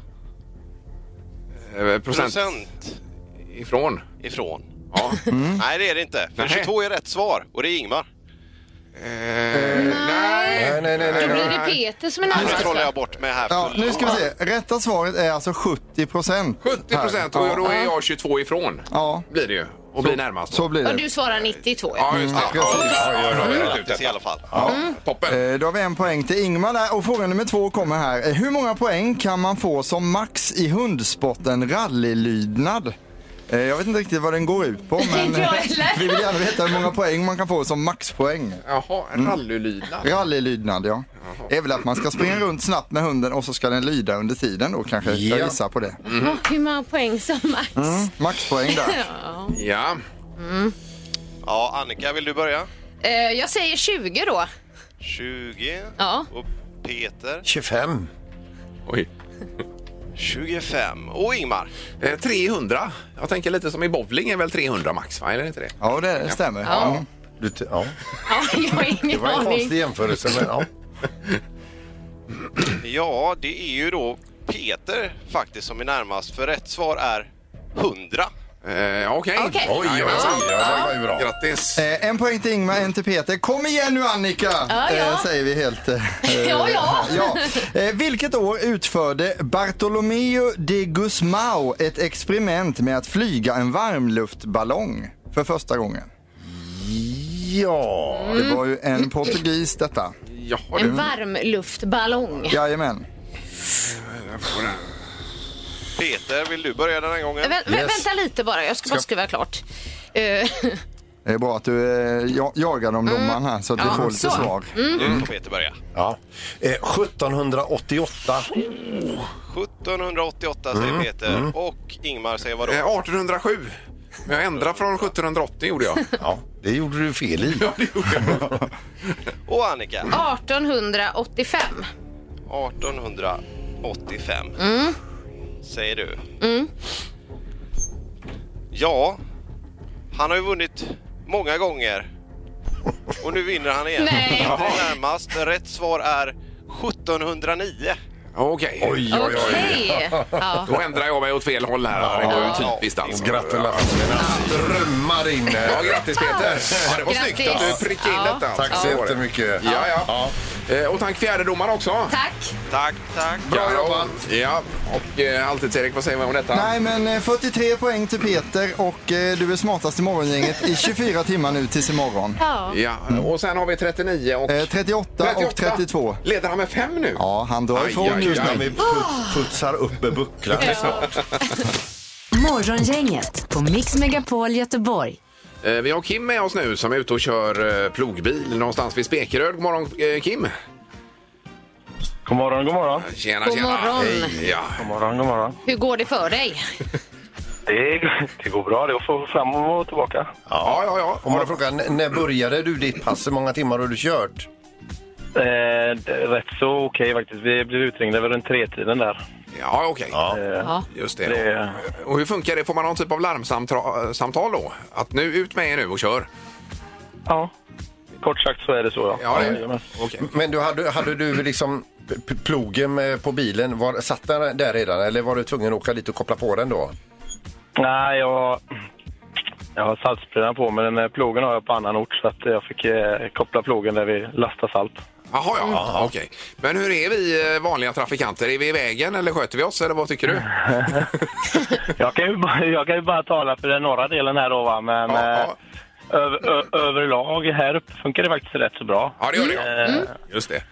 [SPEAKER 2] Eh, Procent
[SPEAKER 6] procent
[SPEAKER 2] ifrån.
[SPEAKER 6] ifrån.
[SPEAKER 2] Ja.
[SPEAKER 6] Nej, det är det inte. För
[SPEAKER 2] Nähä.
[SPEAKER 6] 22 är rätt svar och det är Ingmar.
[SPEAKER 2] Eh, nej!
[SPEAKER 3] Nej, nej, nej.
[SPEAKER 4] Då
[SPEAKER 3] nej.
[SPEAKER 4] blir det Peter som är
[SPEAKER 6] Nu
[SPEAKER 4] närmast.
[SPEAKER 6] trollar
[SPEAKER 4] va?
[SPEAKER 6] jag bort mig här.
[SPEAKER 5] Ja, nu ska vi se. Rätta svaret är alltså 70 procent.
[SPEAKER 2] 70 procent och då är jag 22 ifrån.
[SPEAKER 5] Ja,
[SPEAKER 2] Blir det ju. Och blir närmast.
[SPEAKER 5] så blir
[SPEAKER 4] Ja,
[SPEAKER 5] det.
[SPEAKER 4] du svarar 92. Ja.
[SPEAKER 2] Ja, just det. Ja,
[SPEAKER 5] precis.
[SPEAKER 2] ja, ja, ja, ja,
[SPEAKER 6] Grattis i alla fall.
[SPEAKER 2] ja. Toppen.
[SPEAKER 5] Eh, Då har vi en poäng till Ingmar där och fråga nummer två kommer här. Eh, Hur många poäng kan man få som max i hundsporten rallylydnad? Eh, Jag vet inte riktigt vad den går ut på men eh,
[SPEAKER 4] Inte jag heller.
[SPEAKER 5] vi vill gärna veta hur många poäng man kan få som maxpoäng. Mm.
[SPEAKER 2] Jaha, rallylydnad.
[SPEAKER 5] Rallylydnad ja. Det är väl att man ska springa runt snabbt med hunden och så ska den lyda under tiden då kanske. Jag
[SPEAKER 3] Ja.
[SPEAKER 5] gissar på det.
[SPEAKER 4] Hur många poäng som max?
[SPEAKER 5] Maxpoäng där.
[SPEAKER 2] Ja.
[SPEAKER 6] Ja, Annika, vill du börja?
[SPEAKER 4] Eh, jag säger 20 då.
[SPEAKER 6] 20.
[SPEAKER 4] Ja.
[SPEAKER 6] Och Peter.
[SPEAKER 3] 25.
[SPEAKER 2] Oj.
[SPEAKER 6] 25. Och Ingmar.
[SPEAKER 2] Eh, 300. Jag tänker lite som i bowling är väl 300 max, va? Är det inte det?
[SPEAKER 5] Ja det stämmer. Mm. Ja.
[SPEAKER 3] Du, t- ja.
[SPEAKER 4] Ja, jag har
[SPEAKER 3] Det
[SPEAKER 4] ingen
[SPEAKER 3] var en
[SPEAKER 4] aning.
[SPEAKER 3] konstig jämförelse. Men, ja.
[SPEAKER 6] Ja, det är ju då Peter faktiskt som är närmast. För rätt svar är 100.
[SPEAKER 2] Eh, Okej.
[SPEAKER 4] Okej.
[SPEAKER 3] Oj, oj, oj, oj, det var ju bra.
[SPEAKER 2] Grattis.
[SPEAKER 5] Eh, En poäng till Ingmar, en till Peter. Kom igen nu Annika!
[SPEAKER 4] Ja, ja.
[SPEAKER 5] Eh, Säger vi helt... eh,
[SPEAKER 4] Ja, ja.
[SPEAKER 5] ja. Eh, vilket år utförde Bartolomeo de Gusmao ett experiment med att flyga en varmluftballong för första gången?
[SPEAKER 3] Ja.
[SPEAKER 5] Det
[SPEAKER 4] Mm.
[SPEAKER 5] var ju en portugis detta.
[SPEAKER 2] Jaha,
[SPEAKER 4] En
[SPEAKER 2] du.
[SPEAKER 4] varmluftballong.
[SPEAKER 5] Jajamän.
[SPEAKER 6] Peter, vill du börja den här
[SPEAKER 4] Vä-
[SPEAKER 6] gången?
[SPEAKER 4] vä- Vänta lite bara, jag ska bara skriva klart. Eh,
[SPEAKER 5] Det är bra att du eh, ja, jagar dem domaren här så att du
[SPEAKER 4] Mm. Ja,
[SPEAKER 5] får lite
[SPEAKER 4] så. Mm.
[SPEAKER 5] svar.
[SPEAKER 6] Nu får Peter börja.
[SPEAKER 3] ja. Eh, 1788.
[SPEAKER 6] 1788 säger Peter och Ingmar säger vadå?
[SPEAKER 2] Eh, 1807. Men jag ändrade från 1780 gjorde jag.
[SPEAKER 3] Ja, det gjorde du fel i.
[SPEAKER 2] Ja, det gjorde jag.
[SPEAKER 6] Och Annika?
[SPEAKER 4] Eh, 1885.
[SPEAKER 6] 1885 säger du. Ja, han har ju vunnit många gånger och nu vinner han igen.
[SPEAKER 4] Nej.
[SPEAKER 6] Han är närmast. Rätt svar är 1709.
[SPEAKER 2] Okej.
[SPEAKER 3] Oj, oj, oj.
[SPEAKER 4] Okej. Ja.
[SPEAKER 2] Då ändrar jag mig åt fel håll här. Det var ju typiskt alltså.
[SPEAKER 3] Gratulationerna strömmar in.
[SPEAKER 2] Ja, grattis Peter. Ja, det var
[SPEAKER 4] Grattis.
[SPEAKER 2] snyggt att du prickade in
[SPEAKER 4] Ja.
[SPEAKER 2] detta. alltså.
[SPEAKER 3] Tack så
[SPEAKER 2] Det var det.
[SPEAKER 3] jättemycket.
[SPEAKER 2] Ja, ja. Eh, Och tack fjärdedomaren också.
[SPEAKER 4] Tack.
[SPEAKER 6] Tack, tack.
[SPEAKER 2] Bra jobbat. Ja, och eh, Halvtids-Erik, vad säger man om detta?
[SPEAKER 5] Nej men eh, 43 poäng till Peter och eh, du är smartast i morgongänget i 24 timmar nu tills imorgon.
[SPEAKER 4] Ja.
[SPEAKER 2] Ja, och sen har vi 39 och...
[SPEAKER 5] Eh, 38, och 32.
[SPEAKER 2] Leder han med fem nu?
[SPEAKER 5] Ja, han drar
[SPEAKER 2] Aj,
[SPEAKER 5] ifrån
[SPEAKER 2] aj,
[SPEAKER 5] just
[SPEAKER 2] aj.
[SPEAKER 5] nu.
[SPEAKER 3] Ja, vi put, putsar upp bucklan.
[SPEAKER 4] Ja.
[SPEAKER 1] Morgongänget på Mix Megapol Göteborg.
[SPEAKER 2] Eh, Vi har Kim med oss nu som är ute och kör eh, plogbil någonstans vid Spekeröd. God morgon eh, Kim!
[SPEAKER 6] God morgon, god morgon.
[SPEAKER 2] Tjena,
[SPEAKER 4] God
[SPEAKER 2] tjena!
[SPEAKER 4] morgon.
[SPEAKER 2] Hej, ja.
[SPEAKER 6] God morgon, god morgon.
[SPEAKER 4] Hur går det för dig?
[SPEAKER 6] Det, det går bra, det är att få fram och tillbaka.
[SPEAKER 2] ja, ja, ja.
[SPEAKER 3] Om man frågar, n- när började du ditt pass? Hur många timmar har du kört?
[SPEAKER 6] Eh, det är rätt så okej faktiskt. Vi blev utringda vid runt tretiden där.
[SPEAKER 2] Ja, okej.
[SPEAKER 4] Ja.
[SPEAKER 2] Just det.
[SPEAKER 6] Det-
[SPEAKER 2] Och hur funkar det? Får man någon typ av larmsamtal då? Att nu ut med er nu och kör?
[SPEAKER 6] Ja, kort sagt så är det så ja.
[SPEAKER 2] Ja, det-
[SPEAKER 6] Jajamän.
[SPEAKER 2] Okej.
[SPEAKER 3] Men du, hade, hade du liksom p- p- plogen eh, på bilen, var, satt den där redan eller var du tvungen att åka dit och koppla på den då?
[SPEAKER 6] Nej, jag, jag har saltspridan på men den här plogen har jag på annan ort så att jag fick eh, koppla plogen där vi lastar salt.
[SPEAKER 2] Jaha, ja. Okej. Men hur är vi eh, vanliga trafikanter? Är vi i vägen eller sköter vi oss? Eller vad tycker du?
[SPEAKER 6] Jag kan ju bara, jag kan ju bara tala för den norra delen här då va, men
[SPEAKER 2] Ja,
[SPEAKER 6] eh,
[SPEAKER 2] ja.
[SPEAKER 6] Över, ö, överlag här uppe funkar det faktiskt rätt så bra.
[SPEAKER 2] Ja, det gör det. Ja.
[SPEAKER 3] Mm.
[SPEAKER 6] Eh,
[SPEAKER 2] Just det.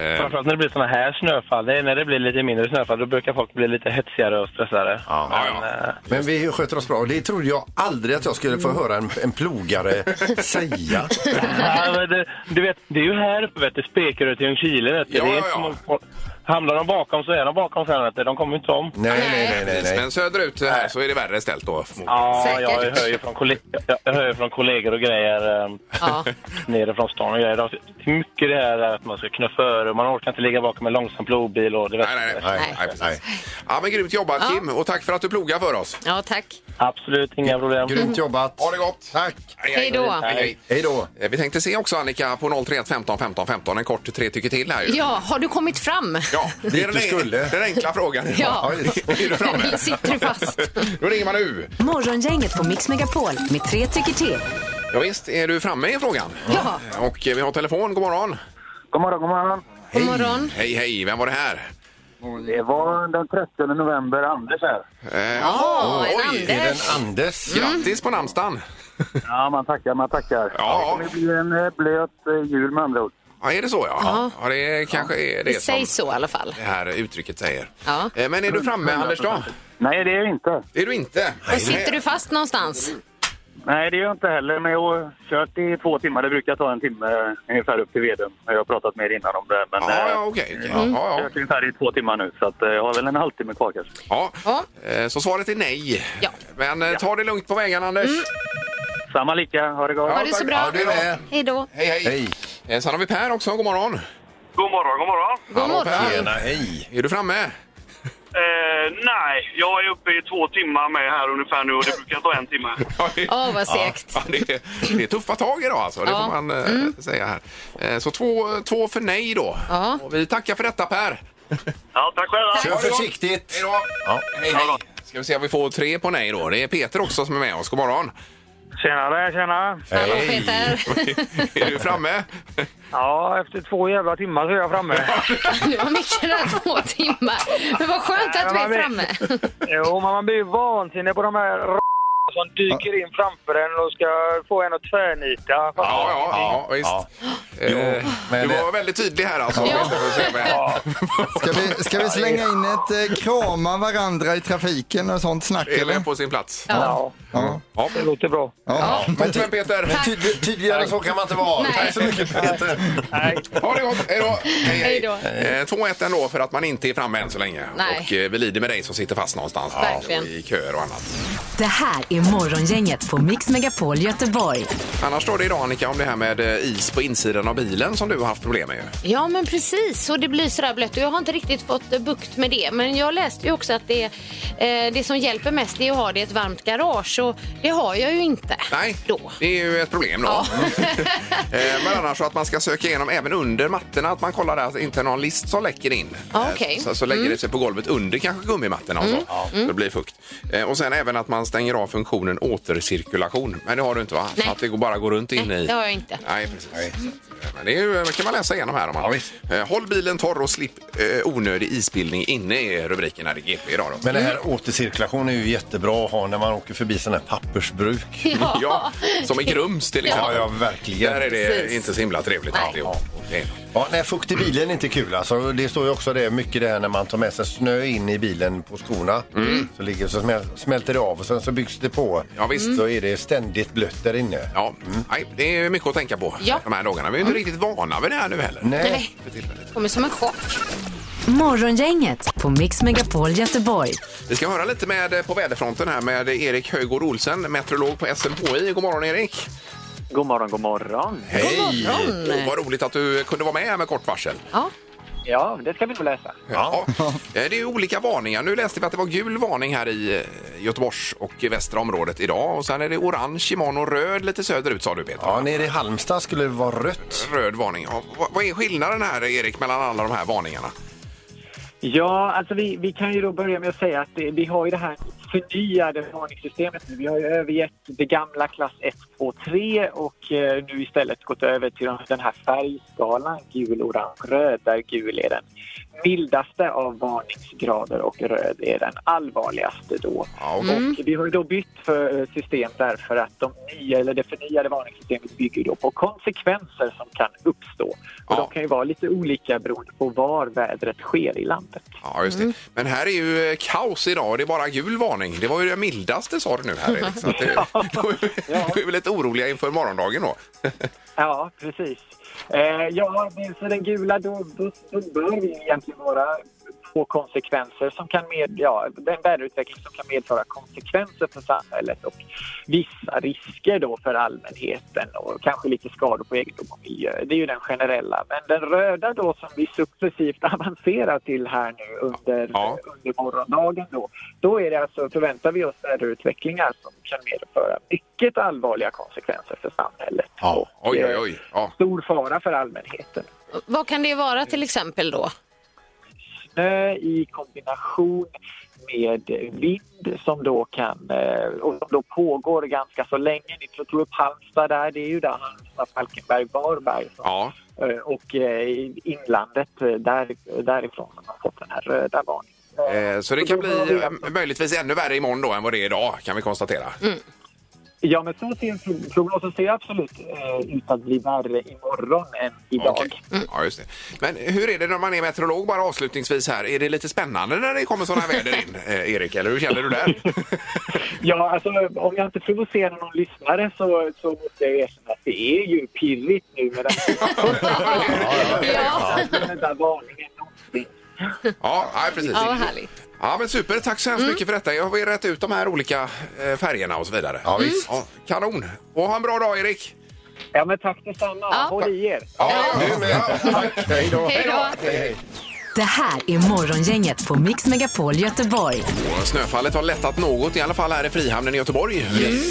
[SPEAKER 2] Eh,
[SPEAKER 6] Framförallt när det blir såna här snöfall. Det är när det blir lite mindre snöfall då brukar folk bli lite hetsigare och stressade.
[SPEAKER 2] ja,
[SPEAKER 6] Men,
[SPEAKER 2] ja.
[SPEAKER 6] eh,
[SPEAKER 3] Men vi sköter oss bra. Det trodde jag aldrig att jag skulle få höra en, en plogare säga.
[SPEAKER 6] Ja, men det, du vet, det är ju här uppe, vet du, Spekerö till Ljungskile. Vet du.
[SPEAKER 2] Ja,
[SPEAKER 6] det är
[SPEAKER 2] ja, ja.
[SPEAKER 6] som att- Hamnar de bakom så är de bakom sen, vet du. de kommer inte om.
[SPEAKER 3] Nej, nej, nej, nej. nej.
[SPEAKER 2] Men söderut här så är det värre ställt då. förmodligen.
[SPEAKER 6] Ja, jag
[SPEAKER 4] Säkert.
[SPEAKER 6] hör ju från, kolle- jag hör ju från kollegor och grejer eh,
[SPEAKER 4] Ja.
[SPEAKER 6] nere från stan och grejer. Det är mycket det här att man ska knuffa över och man orkar inte ligga bakom en långsam plogbil. Och det vet
[SPEAKER 2] Nej, nej, nej.
[SPEAKER 6] du.
[SPEAKER 3] Nej,
[SPEAKER 2] nej, precis.
[SPEAKER 3] nej.
[SPEAKER 2] Ja, men grymt jobbat Kim och tack för att du plogar för oss.
[SPEAKER 4] ja, tack.
[SPEAKER 6] Absolut inga problem.
[SPEAKER 3] Grymt jobbat.
[SPEAKER 2] Ha det gott!
[SPEAKER 3] Tack.
[SPEAKER 4] Hej då.
[SPEAKER 2] Hej, hej.
[SPEAKER 3] Hej då.
[SPEAKER 2] Eh, Vi tänkte se också Annika på 031 15 15 15 en kort tre tycker till här ju.
[SPEAKER 4] Ja, har du kommit fram?
[SPEAKER 2] Ja, det
[SPEAKER 3] Dit
[SPEAKER 2] är
[SPEAKER 3] du
[SPEAKER 2] den,
[SPEAKER 3] skulle.
[SPEAKER 2] den enkla frågan.
[SPEAKER 4] Ja.
[SPEAKER 3] Ja, just.
[SPEAKER 2] Är du framme?
[SPEAKER 4] Sitter du fast?
[SPEAKER 2] Då ringer man nu.
[SPEAKER 1] Morgongänget på Mix Megapol med tre tycker till.
[SPEAKER 2] Ja, visst är du framme i frågan.
[SPEAKER 4] Ja.
[SPEAKER 2] Och eh, vi har telefon. God morgon.
[SPEAKER 6] God morgon, god morgon.
[SPEAKER 4] God morgon.
[SPEAKER 2] Hej, hej. Vem var det här?
[SPEAKER 6] Det var den 30 november, Anders här.
[SPEAKER 2] Eh,
[SPEAKER 4] Ja,
[SPEAKER 2] oj.
[SPEAKER 4] en
[SPEAKER 3] Är det
[SPEAKER 4] Anders.
[SPEAKER 3] en Anders?
[SPEAKER 2] Grattis på namnsdagen.
[SPEAKER 6] Ja, man tackar, man tackar.
[SPEAKER 2] Ja.
[SPEAKER 6] Det blir en eh, blöt eh, jul med andra ord.
[SPEAKER 2] ja, är det så ja? Ja, det kanske är det
[SPEAKER 4] Det sägs
[SPEAKER 2] som
[SPEAKER 4] så i alla fall.
[SPEAKER 2] det här uttrycket säger.
[SPEAKER 4] Ja.
[SPEAKER 2] Eh, Men är du framme Anders då?
[SPEAKER 6] Nej, det är jag inte.
[SPEAKER 2] Det är du inte.
[SPEAKER 4] Och sitter du fast någonstans?
[SPEAKER 6] Nej, det är jag inte heller, men jag har kört i två timmar. Det brukar ta en timme eh, ungefär upp till Veden. Jag har pratat med er innan om det, men
[SPEAKER 2] Ja,
[SPEAKER 6] eh,
[SPEAKER 2] ja, okej.
[SPEAKER 4] Mm.
[SPEAKER 2] okej. Ja,
[SPEAKER 6] jag har
[SPEAKER 2] ja.
[SPEAKER 6] kört ungefär i två timmar nu, så att, eh, jag har väl en halvtimme kvar kanske.
[SPEAKER 2] Ja.
[SPEAKER 4] Ja.
[SPEAKER 2] Eh, Så svaret är nej.
[SPEAKER 4] Ja.
[SPEAKER 2] Men eh, ta det lugnt på vägen Anders.
[SPEAKER 6] Samma lika, ha det gott.
[SPEAKER 4] Ha det så
[SPEAKER 2] tack.
[SPEAKER 4] bra.
[SPEAKER 3] Ja, du är med.
[SPEAKER 4] Hej då.
[SPEAKER 2] Hej, hej.
[SPEAKER 3] Hej.
[SPEAKER 2] Eh, Sen har vi Per också. God morgon.
[SPEAKER 6] God morgon, god morgon.
[SPEAKER 4] God morgon.
[SPEAKER 3] Tjena, hej.
[SPEAKER 2] Är du framme?
[SPEAKER 6] Eh, nej, jag är uppe i två timmar med här ungefär nu och det brukar ta en timme.
[SPEAKER 2] Ja, det-
[SPEAKER 4] Åh, vad segt.
[SPEAKER 2] Ja, det, är, det är tuffa tag idag alltså, det
[SPEAKER 4] Ja. Mm.
[SPEAKER 2] får man eh, säga här. Eh, så två, två för nej då.
[SPEAKER 4] Ja.
[SPEAKER 2] Och vi tackar för detta Per.
[SPEAKER 6] Ja, tack själva.
[SPEAKER 3] Kör försiktigt.
[SPEAKER 2] Hej då. Hej, hej. Ska vi se om vi får tre på nej då. Det är Peter också som är med oss. God morgon.
[SPEAKER 6] Tjenare, tjena.
[SPEAKER 4] Hallå Peter.
[SPEAKER 2] är du framme?
[SPEAKER 6] Ja, efter två jävla timmar så är jag framme.
[SPEAKER 4] Nu var mycket där två timmar. Men vad skönt att vi är framme.
[SPEAKER 6] Jo, men man blir ju vansinnig på de här r- som dyker in framför en och ska få en att tvärnita.
[SPEAKER 2] Ja, ja, ja visst.
[SPEAKER 3] Ja.
[SPEAKER 2] Eh,
[SPEAKER 3] men
[SPEAKER 2] du
[SPEAKER 3] det-
[SPEAKER 2] var väldigt tydlig här alltså.
[SPEAKER 4] Ja.
[SPEAKER 5] Ska vi, ska vi slänga in ett eh, krama varandra i trafiken och sånt snack
[SPEAKER 2] Det är väl
[SPEAKER 5] eller?
[SPEAKER 2] på sin plats.
[SPEAKER 6] Ja,
[SPEAKER 5] Ja.
[SPEAKER 2] Ja.
[SPEAKER 6] det låter bra.
[SPEAKER 5] Ja.
[SPEAKER 2] Toppen Peter.
[SPEAKER 3] Tyd- tydligare så kan man inte vara.
[SPEAKER 4] Nej.
[SPEAKER 3] Tack så mycket Peter.
[SPEAKER 2] Ha det gott. Hej då.
[SPEAKER 4] Hej då.
[SPEAKER 2] Eh, 2-1 ändå för att man inte är framme än så länge.
[SPEAKER 4] Nej.
[SPEAKER 2] Och eh, vi lider med dig som sitter fast någonstans. här
[SPEAKER 4] Verkligen.
[SPEAKER 2] I köer och annat.
[SPEAKER 1] Det här är Morgongänget på Mix Megapol Göteborg.
[SPEAKER 2] Annars står det idag Annika om det här med eh, is på insidan av bilen som du har haft problem med. ju.
[SPEAKER 4] Ja, men precis. Och det blir sådär blött. Och jag har inte riktigt fått eh, bukt med det. Men jag läste ju också att det, eh, det som hjälper mest det är att ha det i ett varmt garage. Och det har jag ju inte.
[SPEAKER 2] Nej,
[SPEAKER 4] Då.
[SPEAKER 2] det är ju ett problem då. Eh, Men annars så att man ska söka igenom även under mattorna, att man kollar där att inte någon list som läcker in.
[SPEAKER 4] Ja,
[SPEAKER 2] Eh,
[SPEAKER 4] Ah, okej. Mm.
[SPEAKER 2] Så, så lägger det sig på golvet under kanske gummimattorna och så. Så det blir fukt. Eh, Och sen även att man stänger av funktionen återcirkulation. Men det har du inte va?
[SPEAKER 4] Nej.
[SPEAKER 2] Så att det går bara går runt in
[SPEAKER 4] Nej,
[SPEAKER 2] i...
[SPEAKER 4] det har jag inte.
[SPEAKER 2] Nej, precis. Så att, eh, Men det är ju, kan man läsa igenom här. Om man... Eh, Håll bilen torr och slipp eh, onödig isbildning inne i rubriken här i GP idag. Då. Mm.
[SPEAKER 3] Men det här återcirkulation är ju jättebra att ha när man åker förbi sådana här pappersbruk.
[SPEAKER 2] Ja, som i Grums till exempel.
[SPEAKER 3] Ja, ja, verkligen.
[SPEAKER 2] Där är det
[SPEAKER 4] Precis.
[SPEAKER 2] inte så himla trevligt. alltid. Det är det.
[SPEAKER 3] Ja, nej, fukt i bilen är inte kul. Alltså, det står ju också det mycket det här när man tar med sig snö in i bilen på skorna. Så, ligger, så smäl- smälter det av och sen så byggs det på.
[SPEAKER 2] Ja, visst.
[SPEAKER 3] Så är det ständigt blött där inne.
[SPEAKER 2] Ja, nej, det är mycket att tänka på
[SPEAKER 4] Ja.
[SPEAKER 2] de här dagarna. Vi är inte riktigt vana vid det här nu heller.
[SPEAKER 3] Nej.
[SPEAKER 4] Nej.
[SPEAKER 2] För tillfället.
[SPEAKER 4] Kommer som en chock.
[SPEAKER 1] Morgongänget på Mix Megapol Göteborg.
[SPEAKER 2] Vi ska höra lite med eh, på väderfronten här med Erik Höjgård Olsen, meteorolog på SMHI. God morgon Erik!
[SPEAKER 6] God morgon, god morgon.
[SPEAKER 2] Hej! Åh, vad roligt att du kunde vara med här med kort varsel.
[SPEAKER 4] Ja.
[SPEAKER 6] Ja, det ska vi nog läsa.
[SPEAKER 2] Ja. Eh, Det är ju olika varningar. Nu läste vi att det var gul varning här i eh, Göteborgs och västra området idag. Och sen är det orange imorgon och röd lite söderut sa du Peter.
[SPEAKER 3] Ja, nere i Halmstad skulle det vara rött.
[SPEAKER 2] Röd varning. Ja, vad- vad är skillnaden här Erik mellan alla de här varningarna?
[SPEAKER 6] Ja, alltså vi, vi kan ju då börja med att säga att det, vi har ju det här förnyade varningssystemet nu. Vi har ju övergett det gamla klass 1, 2, 3 och eh, nu istället gått över till de- den här färgskalan gul, orange, röd där gul är den mildaste av varningsgrader och röd är den allvarligaste då.
[SPEAKER 2] Ja, och,
[SPEAKER 6] Och vi har ju då bytt för eh, system därför att de nya, eller det förnyade varningssystemet bygger då på konsekvenser som kan uppstå. Och
[SPEAKER 2] Ja.
[SPEAKER 6] de kan ju vara lite olika beroende på var vädret sker i landet.
[SPEAKER 2] ja just det. Men här är ju eh, kaos idag och det är bara gul varning. Det var ju det mildaste sa du nu här Erik. Så att det, då är vi- då är vi lite oroliga inför morgondagen då.
[SPEAKER 6] Ja, precis. Eh, ja, men så den gula, då, då, då bör vi egentligen vara på konsekvenser som kan med, ja, den väderutveckling som kan medföra konsekvenser för samhället och vissa risker då för allmänheten och kanske lite skador på egendom och miljö. Det är ju den generella. Men den röda då som vi successivt avancerar till här nu under,
[SPEAKER 2] Ja.
[SPEAKER 6] under morgondagen då, då är det alltså, förväntar vi oss väderutvecklingar som kan medföra mycket allvarliga konsekvenser för samhället.
[SPEAKER 2] Ja.
[SPEAKER 6] Och,
[SPEAKER 2] Oj, oj,
[SPEAKER 6] eh,
[SPEAKER 2] oj. Ja.
[SPEAKER 6] Stor fara för allmänheten.
[SPEAKER 4] Vad kan det vara till exempel då?
[SPEAKER 6] Snö i kombination med vind som då kan eh, och som då pågår ganska så länge. Ni tog upp Halmstad där, det är ju där Halmstad, Falkenberg, Varberg som
[SPEAKER 2] Ja.
[SPEAKER 6] Eh, och eh, i inlandet eh, där, därifrån har man fått den här röda varningen.
[SPEAKER 2] Eh, Så det kan bli eh, möjligtvis ännu värre imorgon då än vad det är idag kan vi konstatera.
[SPEAKER 6] Ja, men så ser pro- prognosen ser absolut eh, ut att bli värre imorgon än idag.
[SPEAKER 2] Okej. Ja, just det. Men hur är det när man är meteorolog bara avslutningsvis här? Är det lite spännande när det kommer sådana här väder in, eh, Erik? Eller hur känner du där?
[SPEAKER 6] Ja, alltså om jag inte provocerar någon lyssnare så, så måste jag ju erkänna att det är ju pirrigt nu med den
[SPEAKER 4] Ja,
[SPEAKER 6] här röda varningen någonsin.
[SPEAKER 2] ja, nej, precis.
[SPEAKER 4] ja vad härligt.
[SPEAKER 2] Ja, men super. Tack så hemskt mycket för detta. Jag har ju rätt ut de här olika eh, färgerna och så vidare. Ja, visst. kanon. Och ha en bra dag, Erik.
[SPEAKER 6] Ja, men tack detsamma. Håll i er.
[SPEAKER 2] Ja,
[SPEAKER 3] Du med. Tack. Hej då.
[SPEAKER 4] Hej då.
[SPEAKER 1] Det här är Morgongänget på Mix Megapol Göteborg.
[SPEAKER 2] och Snöfallet har lättat något, i alla fall här i Frihamnen i Göteborg.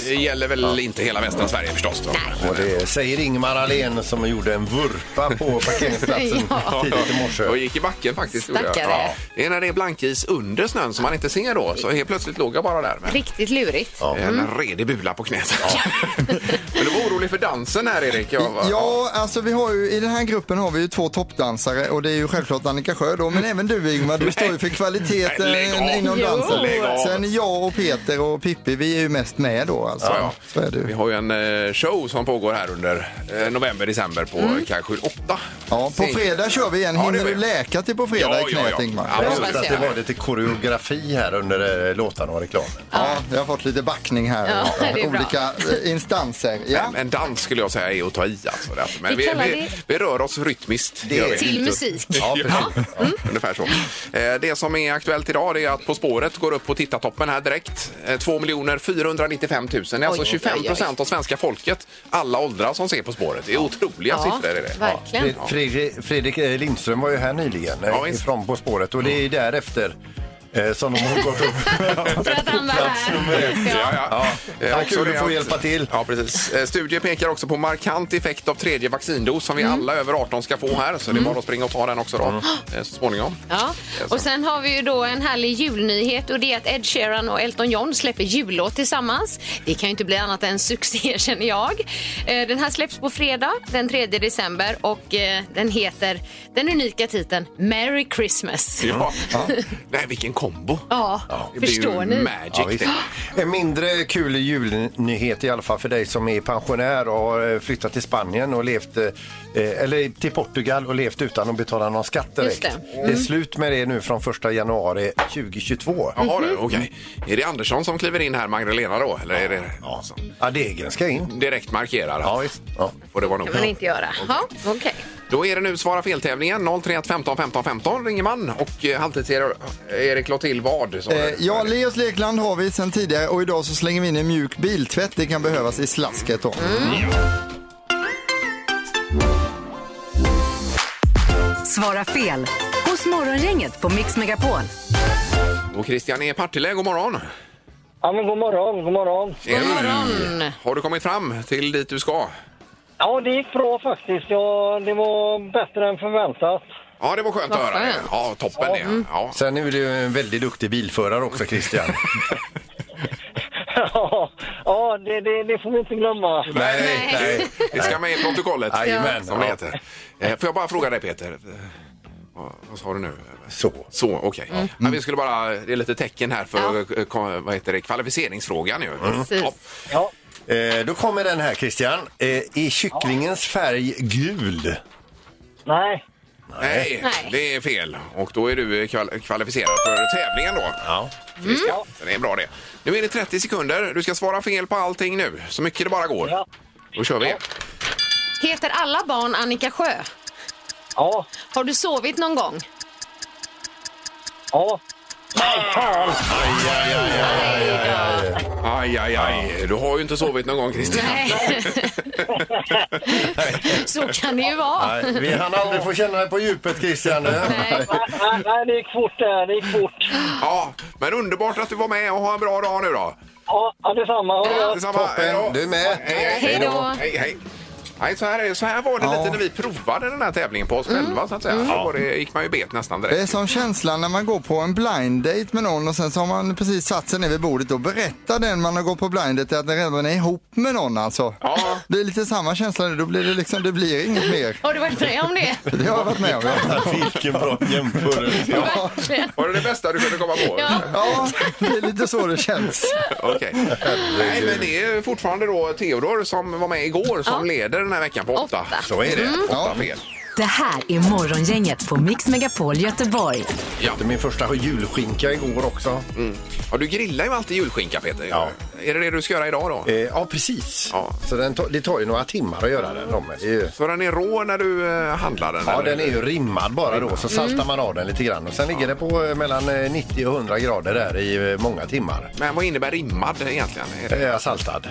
[SPEAKER 2] Det gäller väl inte hela västra Sverige förstås. Då.
[SPEAKER 3] Och det säger Ingmar Ahlén som gjorde en vurpa på parkeringsplatsen tidigt i morse.
[SPEAKER 2] Jag gick i backen faktiskt. gjorde jag.
[SPEAKER 4] Stackare.
[SPEAKER 2] Ja. Det är när det är blankis under snön som man inte ser då. Så helt plötsligt låg jag bara där med
[SPEAKER 4] Riktigt lurigt.
[SPEAKER 2] en redig bula på knät. Men du var orolig för dansen här Erik. Jag var-
[SPEAKER 5] Ja, alltså vi har ju, i den här gruppen har vi ju två toppdansare och det är ju självklart Annika Sjö då, men även du Ingmar, du står ju för kvaliteten
[SPEAKER 2] Nej, lägg av.
[SPEAKER 5] inom
[SPEAKER 4] Jo.
[SPEAKER 5] dansen.
[SPEAKER 2] Lägg av.
[SPEAKER 5] Sen jag och Peter och Pippi, vi är ju mest med då alltså.
[SPEAKER 2] Ja, ja.
[SPEAKER 5] Så är det
[SPEAKER 2] Vi
[SPEAKER 5] ju.
[SPEAKER 2] har ju en eh, show som pågår här under eh, november, december på mm. kanske 8.
[SPEAKER 5] Ja, på fredag kör vi igen.
[SPEAKER 2] Ja, det
[SPEAKER 5] Hinner
[SPEAKER 2] gör
[SPEAKER 5] du
[SPEAKER 2] vi.
[SPEAKER 5] läka till på fredag
[SPEAKER 2] Ja,
[SPEAKER 5] i
[SPEAKER 2] ja,
[SPEAKER 5] knät
[SPEAKER 2] ja.
[SPEAKER 5] Ingmar?
[SPEAKER 2] Ja,
[SPEAKER 3] Så att det var lite koreografi här under eh, låtarna och reklamen.
[SPEAKER 5] Ja, jag har fått lite backning här.
[SPEAKER 4] Ja, det är bra.
[SPEAKER 5] Olika eh, instanser. Ja.
[SPEAKER 2] Men, men dans skulle jag säga är att ta i alltså. det här. Men
[SPEAKER 4] Vi
[SPEAKER 2] vi,
[SPEAKER 4] kallar
[SPEAKER 2] vi,
[SPEAKER 4] det-
[SPEAKER 2] vi rör oss rytmiskt. Det gör vi.
[SPEAKER 4] Till musik.
[SPEAKER 3] Ja, precis.
[SPEAKER 2] Ja, Ungefär så. Eh, Det som är aktuellt idag det är att På spåret går upp på tittartoppen här direkt. Eh, 2 495 000. Det är alltså
[SPEAKER 4] Oj,
[SPEAKER 2] 25
[SPEAKER 4] oj, oj.
[SPEAKER 2] procent av svenska folket, alla åldrar, som ser På spåret. Det är otroliga siffror. Är det.
[SPEAKER 4] verkligen.
[SPEAKER 3] Fred- Fredrik, Fredrik eh, Lindström var ju här nyligen eh,
[SPEAKER 2] Ja, visst. Mm.
[SPEAKER 3] ifrån På spåret och det är ju därefter eh, som de har gått upp.
[SPEAKER 4] För att han var här. Ja.
[SPEAKER 2] Ja, ja.
[SPEAKER 3] Ja,
[SPEAKER 2] Eh, också
[SPEAKER 3] kul att
[SPEAKER 2] det
[SPEAKER 3] få
[SPEAKER 2] att-
[SPEAKER 3] hjälpa till.
[SPEAKER 2] Ja, precis. Eh, Studier pekar också på markant effekt av tredje vaccindos som vi
[SPEAKER 4] Mm.
[SPEAKER 2] alla över 18 ska få här. Så det är bara att springa och ta den också då, eh, så småningom.
[SPEAKER 4] Ja. Och sen har vi ju då en härlig julnyhet och det är att Ed Sheeran och Elton John släpper jullåt tillsammans. Det kan ju inte bli annat än succé känner jag. Eh, Den här släpps på fredag den 3 december och eh, den heter den unika titeln Merry Christmas.
[SPEAKER 2] Ja. Nej, vilken kombo.
[SPEAKER 4] Ja,
[SPEAKER 2] det blir
[SPEAKER 4] förstår
[SPEAKER 2] ju
[SPEAKER 4] ni?
[SPEAKER 2] magic
[SPEAKER 3] Ja,
[SPEAKER 2] det.
[SPEAKER 3] visst. En mindre kul julnyhet i alla fall för dig som är pensionär och har eh, flyttat till Spanien och levt, eh, eh, eller till Portugal och levt utan att betala någon skatt direkt.
[SPEAKER 4] Just
[SPEAKER 3] det.
[SPEAKER 2] Mm.
[SPEAKER 3] är slut med det nu från 1 januari 2022.
[SPEAKER 2] Jaha
[SPEAKER 4] Mm-hmm.
[SPEAKER 2] du, okej. Är det Andersson som kliver in här, Magdalena då? Eller är det
[SPEAKER 3] Ja.
[SPEAKER 2] som
[SPEAKER 3] Ja, degen ska in.
[SPEAKER 2] direkt markerar?
[SPEAKER 3] Ja, visst. Ja.
[SPEAKER 2] Får det vara nog.
[SPEAKER 4] kan man inte göra. Ja, okej.
[SPEAKER 2] Då är det nu Svara fel-tävlingen. 031 15 15 15 ringer man. Och eh, halvtids-Erik lade till vad? sa du?
[SPEAKER 5] Eh, ja, Leos Lekland har vi sedan tidigare och idag så slänger vi in en mjuk biltvätt. Det kan behövas i slasket då.
[SPEAKER 4] Mm.
[SPEAKER 1] Svara fel hos Morgongänget på Mix Megapol.
[SPEAKER 2] Och Christian är i Partille. God morgon!
[SPEAKER 6] Ja, men god morgon, god morgon.
[SPEAKER 4] God morgon!
[SPEAKER 2] Har du kommit fram till dit du ska?
[SPEAKER 6] Ja, det gick bra faktiskt. Ja, det var bättre än förväntat.
[SPEAKER 2] Ja, det var skönt
[SPEAKER 4] Vad
[SPEAKER 2] att höra.
[SPEAKER 4] skönt.
[SPEAKER 2] Ja, toppen det. Ja.
[SPEAKER 3] Sen är du ju en väldigt duktig bilförare också, Christian.
[SPEAKER 6] ja, det, det, det får vi inte glömma.
[SPEAKER 3] nej, nej.
[SPEAKER 2] Det ska med i protokollet.
[SPEAKER 3] Jajamän.
[SPEAKER 2] Som det
[SPEAKER 3] Ja.
[SPEAKER 2] heter. Eh, Får jag bara fråga dig Peter? Eh, Vad, vad sa du nu?
[SPEAKER 3] Så.
[SPEAKER 2] Så, okej. Ja, vi skulle bara, det är lite tecken här för eh, ko- vad heter det, kvalificeringsfrågan ju.
[SPEAKER 4] Precis.
[SPEAKER 2] Ja.
[SPEAKER 6] Ja.
[SPEAKER 3] Eh, då kommer den här, Christian. Eh, är kycklingens färg gul?
[SPEAKER 6] Nej.
[SPEAKER 2] Nej,
[SPEAKER 4] Nej.
[SPEAKER 2] det är fel. Och då är du eh, kval- kvalificerad för tävlingen då.
[SPEAKER 3] Ja.
[SPEAKER 2] Christian. Det är bra det. Nu är det 30 sekunder. Du ska svara fel på allting nu, så mycket det bara går.
[SPEAKER 6] Ja.
[SPEAKER 2] Då kör vi.
[SPEAKER 4] Heter alla barn Annika Sjö?
[SPEAKER 6] Ja.
[SPEAKER 4] Har du sovit någon gång?
[SPEAKER 6] Ja. Nej, fan!
[SPEAKER 2] Aj, aj, aj. Du har ju inte sovit någon gång Christian.
[SPEAKER 4] Nej. Så kan det ju vara.
[SPEAKER 3] Nej, vi hann aldrig få känna dig på djupet, Christian.
[SPEAKER 4] Nej.
[SPEAKER 6] Nej, nej, det gick fort där. Det gick fort.
[SPEAKER 2] Ja, men underbart att du var med och ha en bra dag nu då.
[SPEAKER 6] Ja, ja, detsamma. Ha det gott.
[SPEAKER 2] Detsamma. Hej då.
[SPEAKER 3] Toppen, du är med.
[SPEAKER 2] Hej, hej.
[SPEAKER 4] Hej då.
[SPEAKER 2] Hej, hej. Nej, så, här, är- så här var det lite när vi provade den här tävlingen på oss själva. Så att säga. Då var det, gick man ju bet nästan
[SPEAKER 5] Det är
[SPEAKER 2] direkt.
[SPEAKER 5] som känslan när man går på en blind date med någon och sen så har man precis satt sig ner vid bordet och berättar den man har gått på blind date att den redan är ihop med någon alltså.
[SPEAKER 2] Ja.
[SPEAKER 5] Det är lite samma känsla nu, då blir det liksom, det blir inget mer.
[SPEAKER 4] Har du varit med om det?
[SPEAKER 5] Det har jag varit med om. ja.
[SPEAKER 3] Vilken bra jämförelse.
[SPEAKER 4] Verkligen.
[SPEAKER 2] Var det det bästa du kunde komma på?
[SPEAKER 4] Ja.
[SPEAKER 5] Ja, det är lite så det känns.
[SPEAKER 2] Okej. Nej, men det är fortfarande då Theodor som var med igår som leder den här veckan på åtta.
[SPEAKER 4] Åtta.
[SPEAKER 2] Så är det. Åtta fel.
[SPEAKER 1] Det här är Morgongänget på Mix Megapol Göteborg.
[SPEAKER 2] Ja.
[SPEAKER 3] Min första julskinka igår också.
[SPEAKER 2] Ja, du grillar ju alltid julskinka, Peter.
[SPEAKER 3] Ja.
[SPEAKER 2] Är det det du ska göra idag då?
[SPEAKER 3] Eh, ja, precis.
[SPEAKER 2] Ja.
[SPEAKER 3] Så den ta- det tar ju några timmar att göra den. Om.
[SPEAKER 2] Så den är rå när du eh, handlar den?
[SPEAKER 3] Ja,
[SPEAKER 2] eller? Mm.
[SPEAKER 3] den är ju rimmad bara då, så saltar man av den lite grann. Och sen ligger det på eh, mellan eh, 90 och 100 grader där i eh, många timmar.
[SPEAKER 2] Men vad innebär rimmad egentligen? Är det...
[SPEAKER 3] Eh, saltad.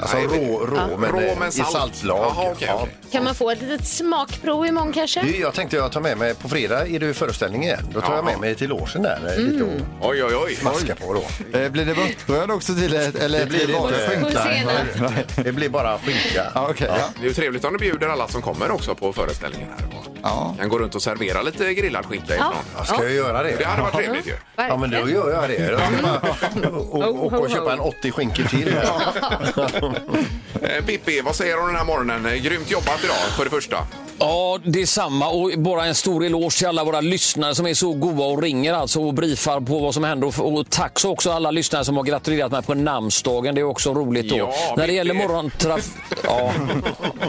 [SPEAKER 3] Alltså
[SPEAKER 2] Nej, men-
[SPEAKER 3] rå, rå, men,
[SPEAKER 2] Rå
[SPEAKER 3] eh,
[SPEAKER 2] men
[SPEAKER 3] i
[SPEAKER 2] salt.
[SPEAKER 3] saltlag.
[SPEAKER 2] Jaha, okej,
[SPEAKER 3] Ja.
[SPEAKER 2] okej.
[SPEAKER 4] Kan man få ett litet smakprov imorgon kanske?
[SPEAKER 3] Du, Jag tänkte jag tar med mig, på fredag är det ju föreställning igen. Då tar jag med
[SPEAKER 2] Jaha. Mm.
[SPEAKER 3] mig till logen där eh, lite och
[SPEAKER 2] Oj, oj, oj.
[SPEAKER 3] maska på då.
[SPEAKER 5] Eh, Blir det vörtbröd också till ett, eller
[SPEAKER 3] Det blir
[SPEAKER 5] till
[SPEAKER 3] inte.
[SPEAKER 5] vanligt skynke?
[SPEAKER 4] Och senap.
[SPEAKER 3] Det blir bara skinka.
[SPEAKER 5] Ja, okej. ja.
[SPEAKER 2] Det är ju trevligt om du bjuder alla som kommer också på föreställningen här.
[SPEAKER 5] Ja.
[SPEAKER 2] Kan gå runt och servera lite grillad skinka ifrån.
[SPEAKER 3] Jag ska ju göra det.
[SPEAKER 2] Det hade varit trevligt ju.
[SPEAKER 3] Ja, men då gör jag det. Jag ska bara och, och, och, och köpa en 80 skinkor till. här.
[SPEAKER 2] Eh, Pippi, vad säger du om den här morgonen? Eh, Grymt jobbat idag för det första.
[SPEAKER 8] Ja, detsamma. Och bara en stor eloge till alla våra lyssnare som är så goa och ringer alltså och briefar på vad som händer. Och- Och tack så också alla lyssnare som har gratulerat mig på namnsdagen. Det är också roligt. Då.
[SPEAKER 2] Ja,
[SPEAKER 8] När det
[SPEAKER 2] mitt
[SPEAKER 8] gäller
[SPEAKER 2] i.
[SPEAKER 8] morgontraf... Ja.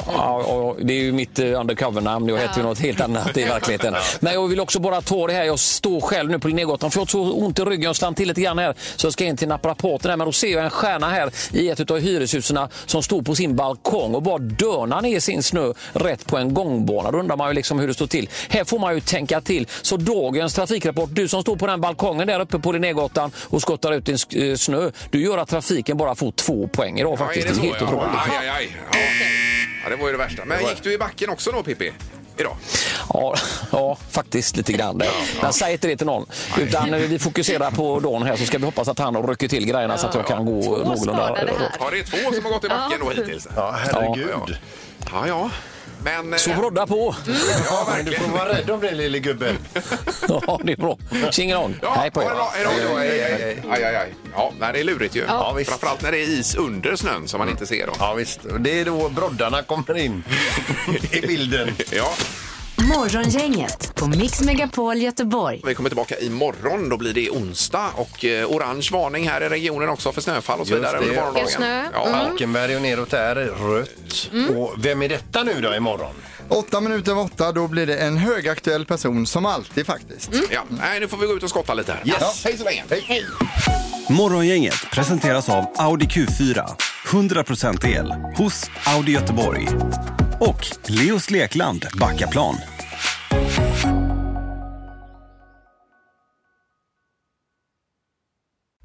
[SPEAKER 8] Ja, ja, det är ju mitt eh, undercover-namn. Jag heter ju något helt annat i verkligheten. Men jag vill också bara ta det här. Jag står själv nu på Linnégatan för jag har så ont i ryggen. Jag slant till lite grann här så jag ska in till naprapaten. här. Men då ser jag en stjärna här i ett av hyreshusen som står på sin balkong och bara dönar ner sin snö rätt på en gångbana. Då undrar man ju liksom hur det står till. Här får man ju tänka till. Så dagens trafikrapport, du som står på den balkongen där uppe på Linnégatan och skottar ut din sk- eh, snö. Du gör att trafiken bara får två poäng idag faktiskt.
[SPEAKER 2] är det så?
[SPEAKER 8] helt otroligt.
[SPEAKER 2] ja. Aj, aj, aj. Ja. ja, det var ju det värsta. Men gick du i backen också då, Pippi? Idag?
[SPEAKER 8] Ja, ja, faktiskt lite grann. där. Men säg inte det till någon. Utan eh, vi fokuserar på Don här så ska vi hoppas att han rycker till grejerna så att jag kan gå
[SPEAKER 4] Två
[SPEAKER 8] någorlunda.
[SPEAKER 4] skadade här.
[SPEAKER 2] Ja, det är två som har gått i backen då hittills.
[SPEAKER 3] Ja, herregud.
[SPEAKER 2] Ja, ja. ja. Men... eh,
[SPEAKER 8] Så brodda på!
[SPEAKER 2] Ja,
[SPEAKER 3] Men du
[SPEAKER 2] verkligen.
[SPEAKER 3] får vara rädd om dig, lille gubben.
[SPEAKER 8] Ja, det är bra. Tjingelång!
[SPEAKER 2] Ja,
[SPEAKER 8] Hej på
[SPEAKER 2] ha
[SPEAKER 8] er!
[SPEAKER 2] det bra. Hej då. Aj, aj, aj. Ja, nej, det är lurigt ju.
[SPEAKER 3] Ja, visst.
[SPEAKER 2] Framförallt när det är is under snön
[SPEAKER 8] Mm.
[SPEAKER 2] som man inte ser. Då. Mm.
[SPEAKER 3] Ja, visst. Det är då broddarna kommer in i bilden.
[SPEAKER 2] Ja.
[SPEAKER 1] Morgongänget på Mix Megapol Göteborg.
[SPEAKER 2] Vi kommer tillbaka imorgon, då blir det onsdag och eh, orange varning här i regionen också för snöfall och så vidare under morgondagen. Ja.
[SPEAKER 3] Mm. Falkenberg och neråt där, rött.
[SPEAKER 2] Mm.
[SPEAKER 3] Och vem är detta nu då imorgon?
[SPEAKER 5] Åtta minuter över åtta, då blir det en högaktuell person som alltid faktiskt.
[SPEAKER 2] Ja, nej, nu får vi gå ut och skotta lite här.
[SPEAKER 3] Yes.
[SPEAKER 2] Hej så länge!
[SPEAKER 3] Hej.
[SPEAKER 9] Morgongänget presenteras av Audi Q4. 100% el hos Audi Göteborg. Och Leos Lekland Backaplan.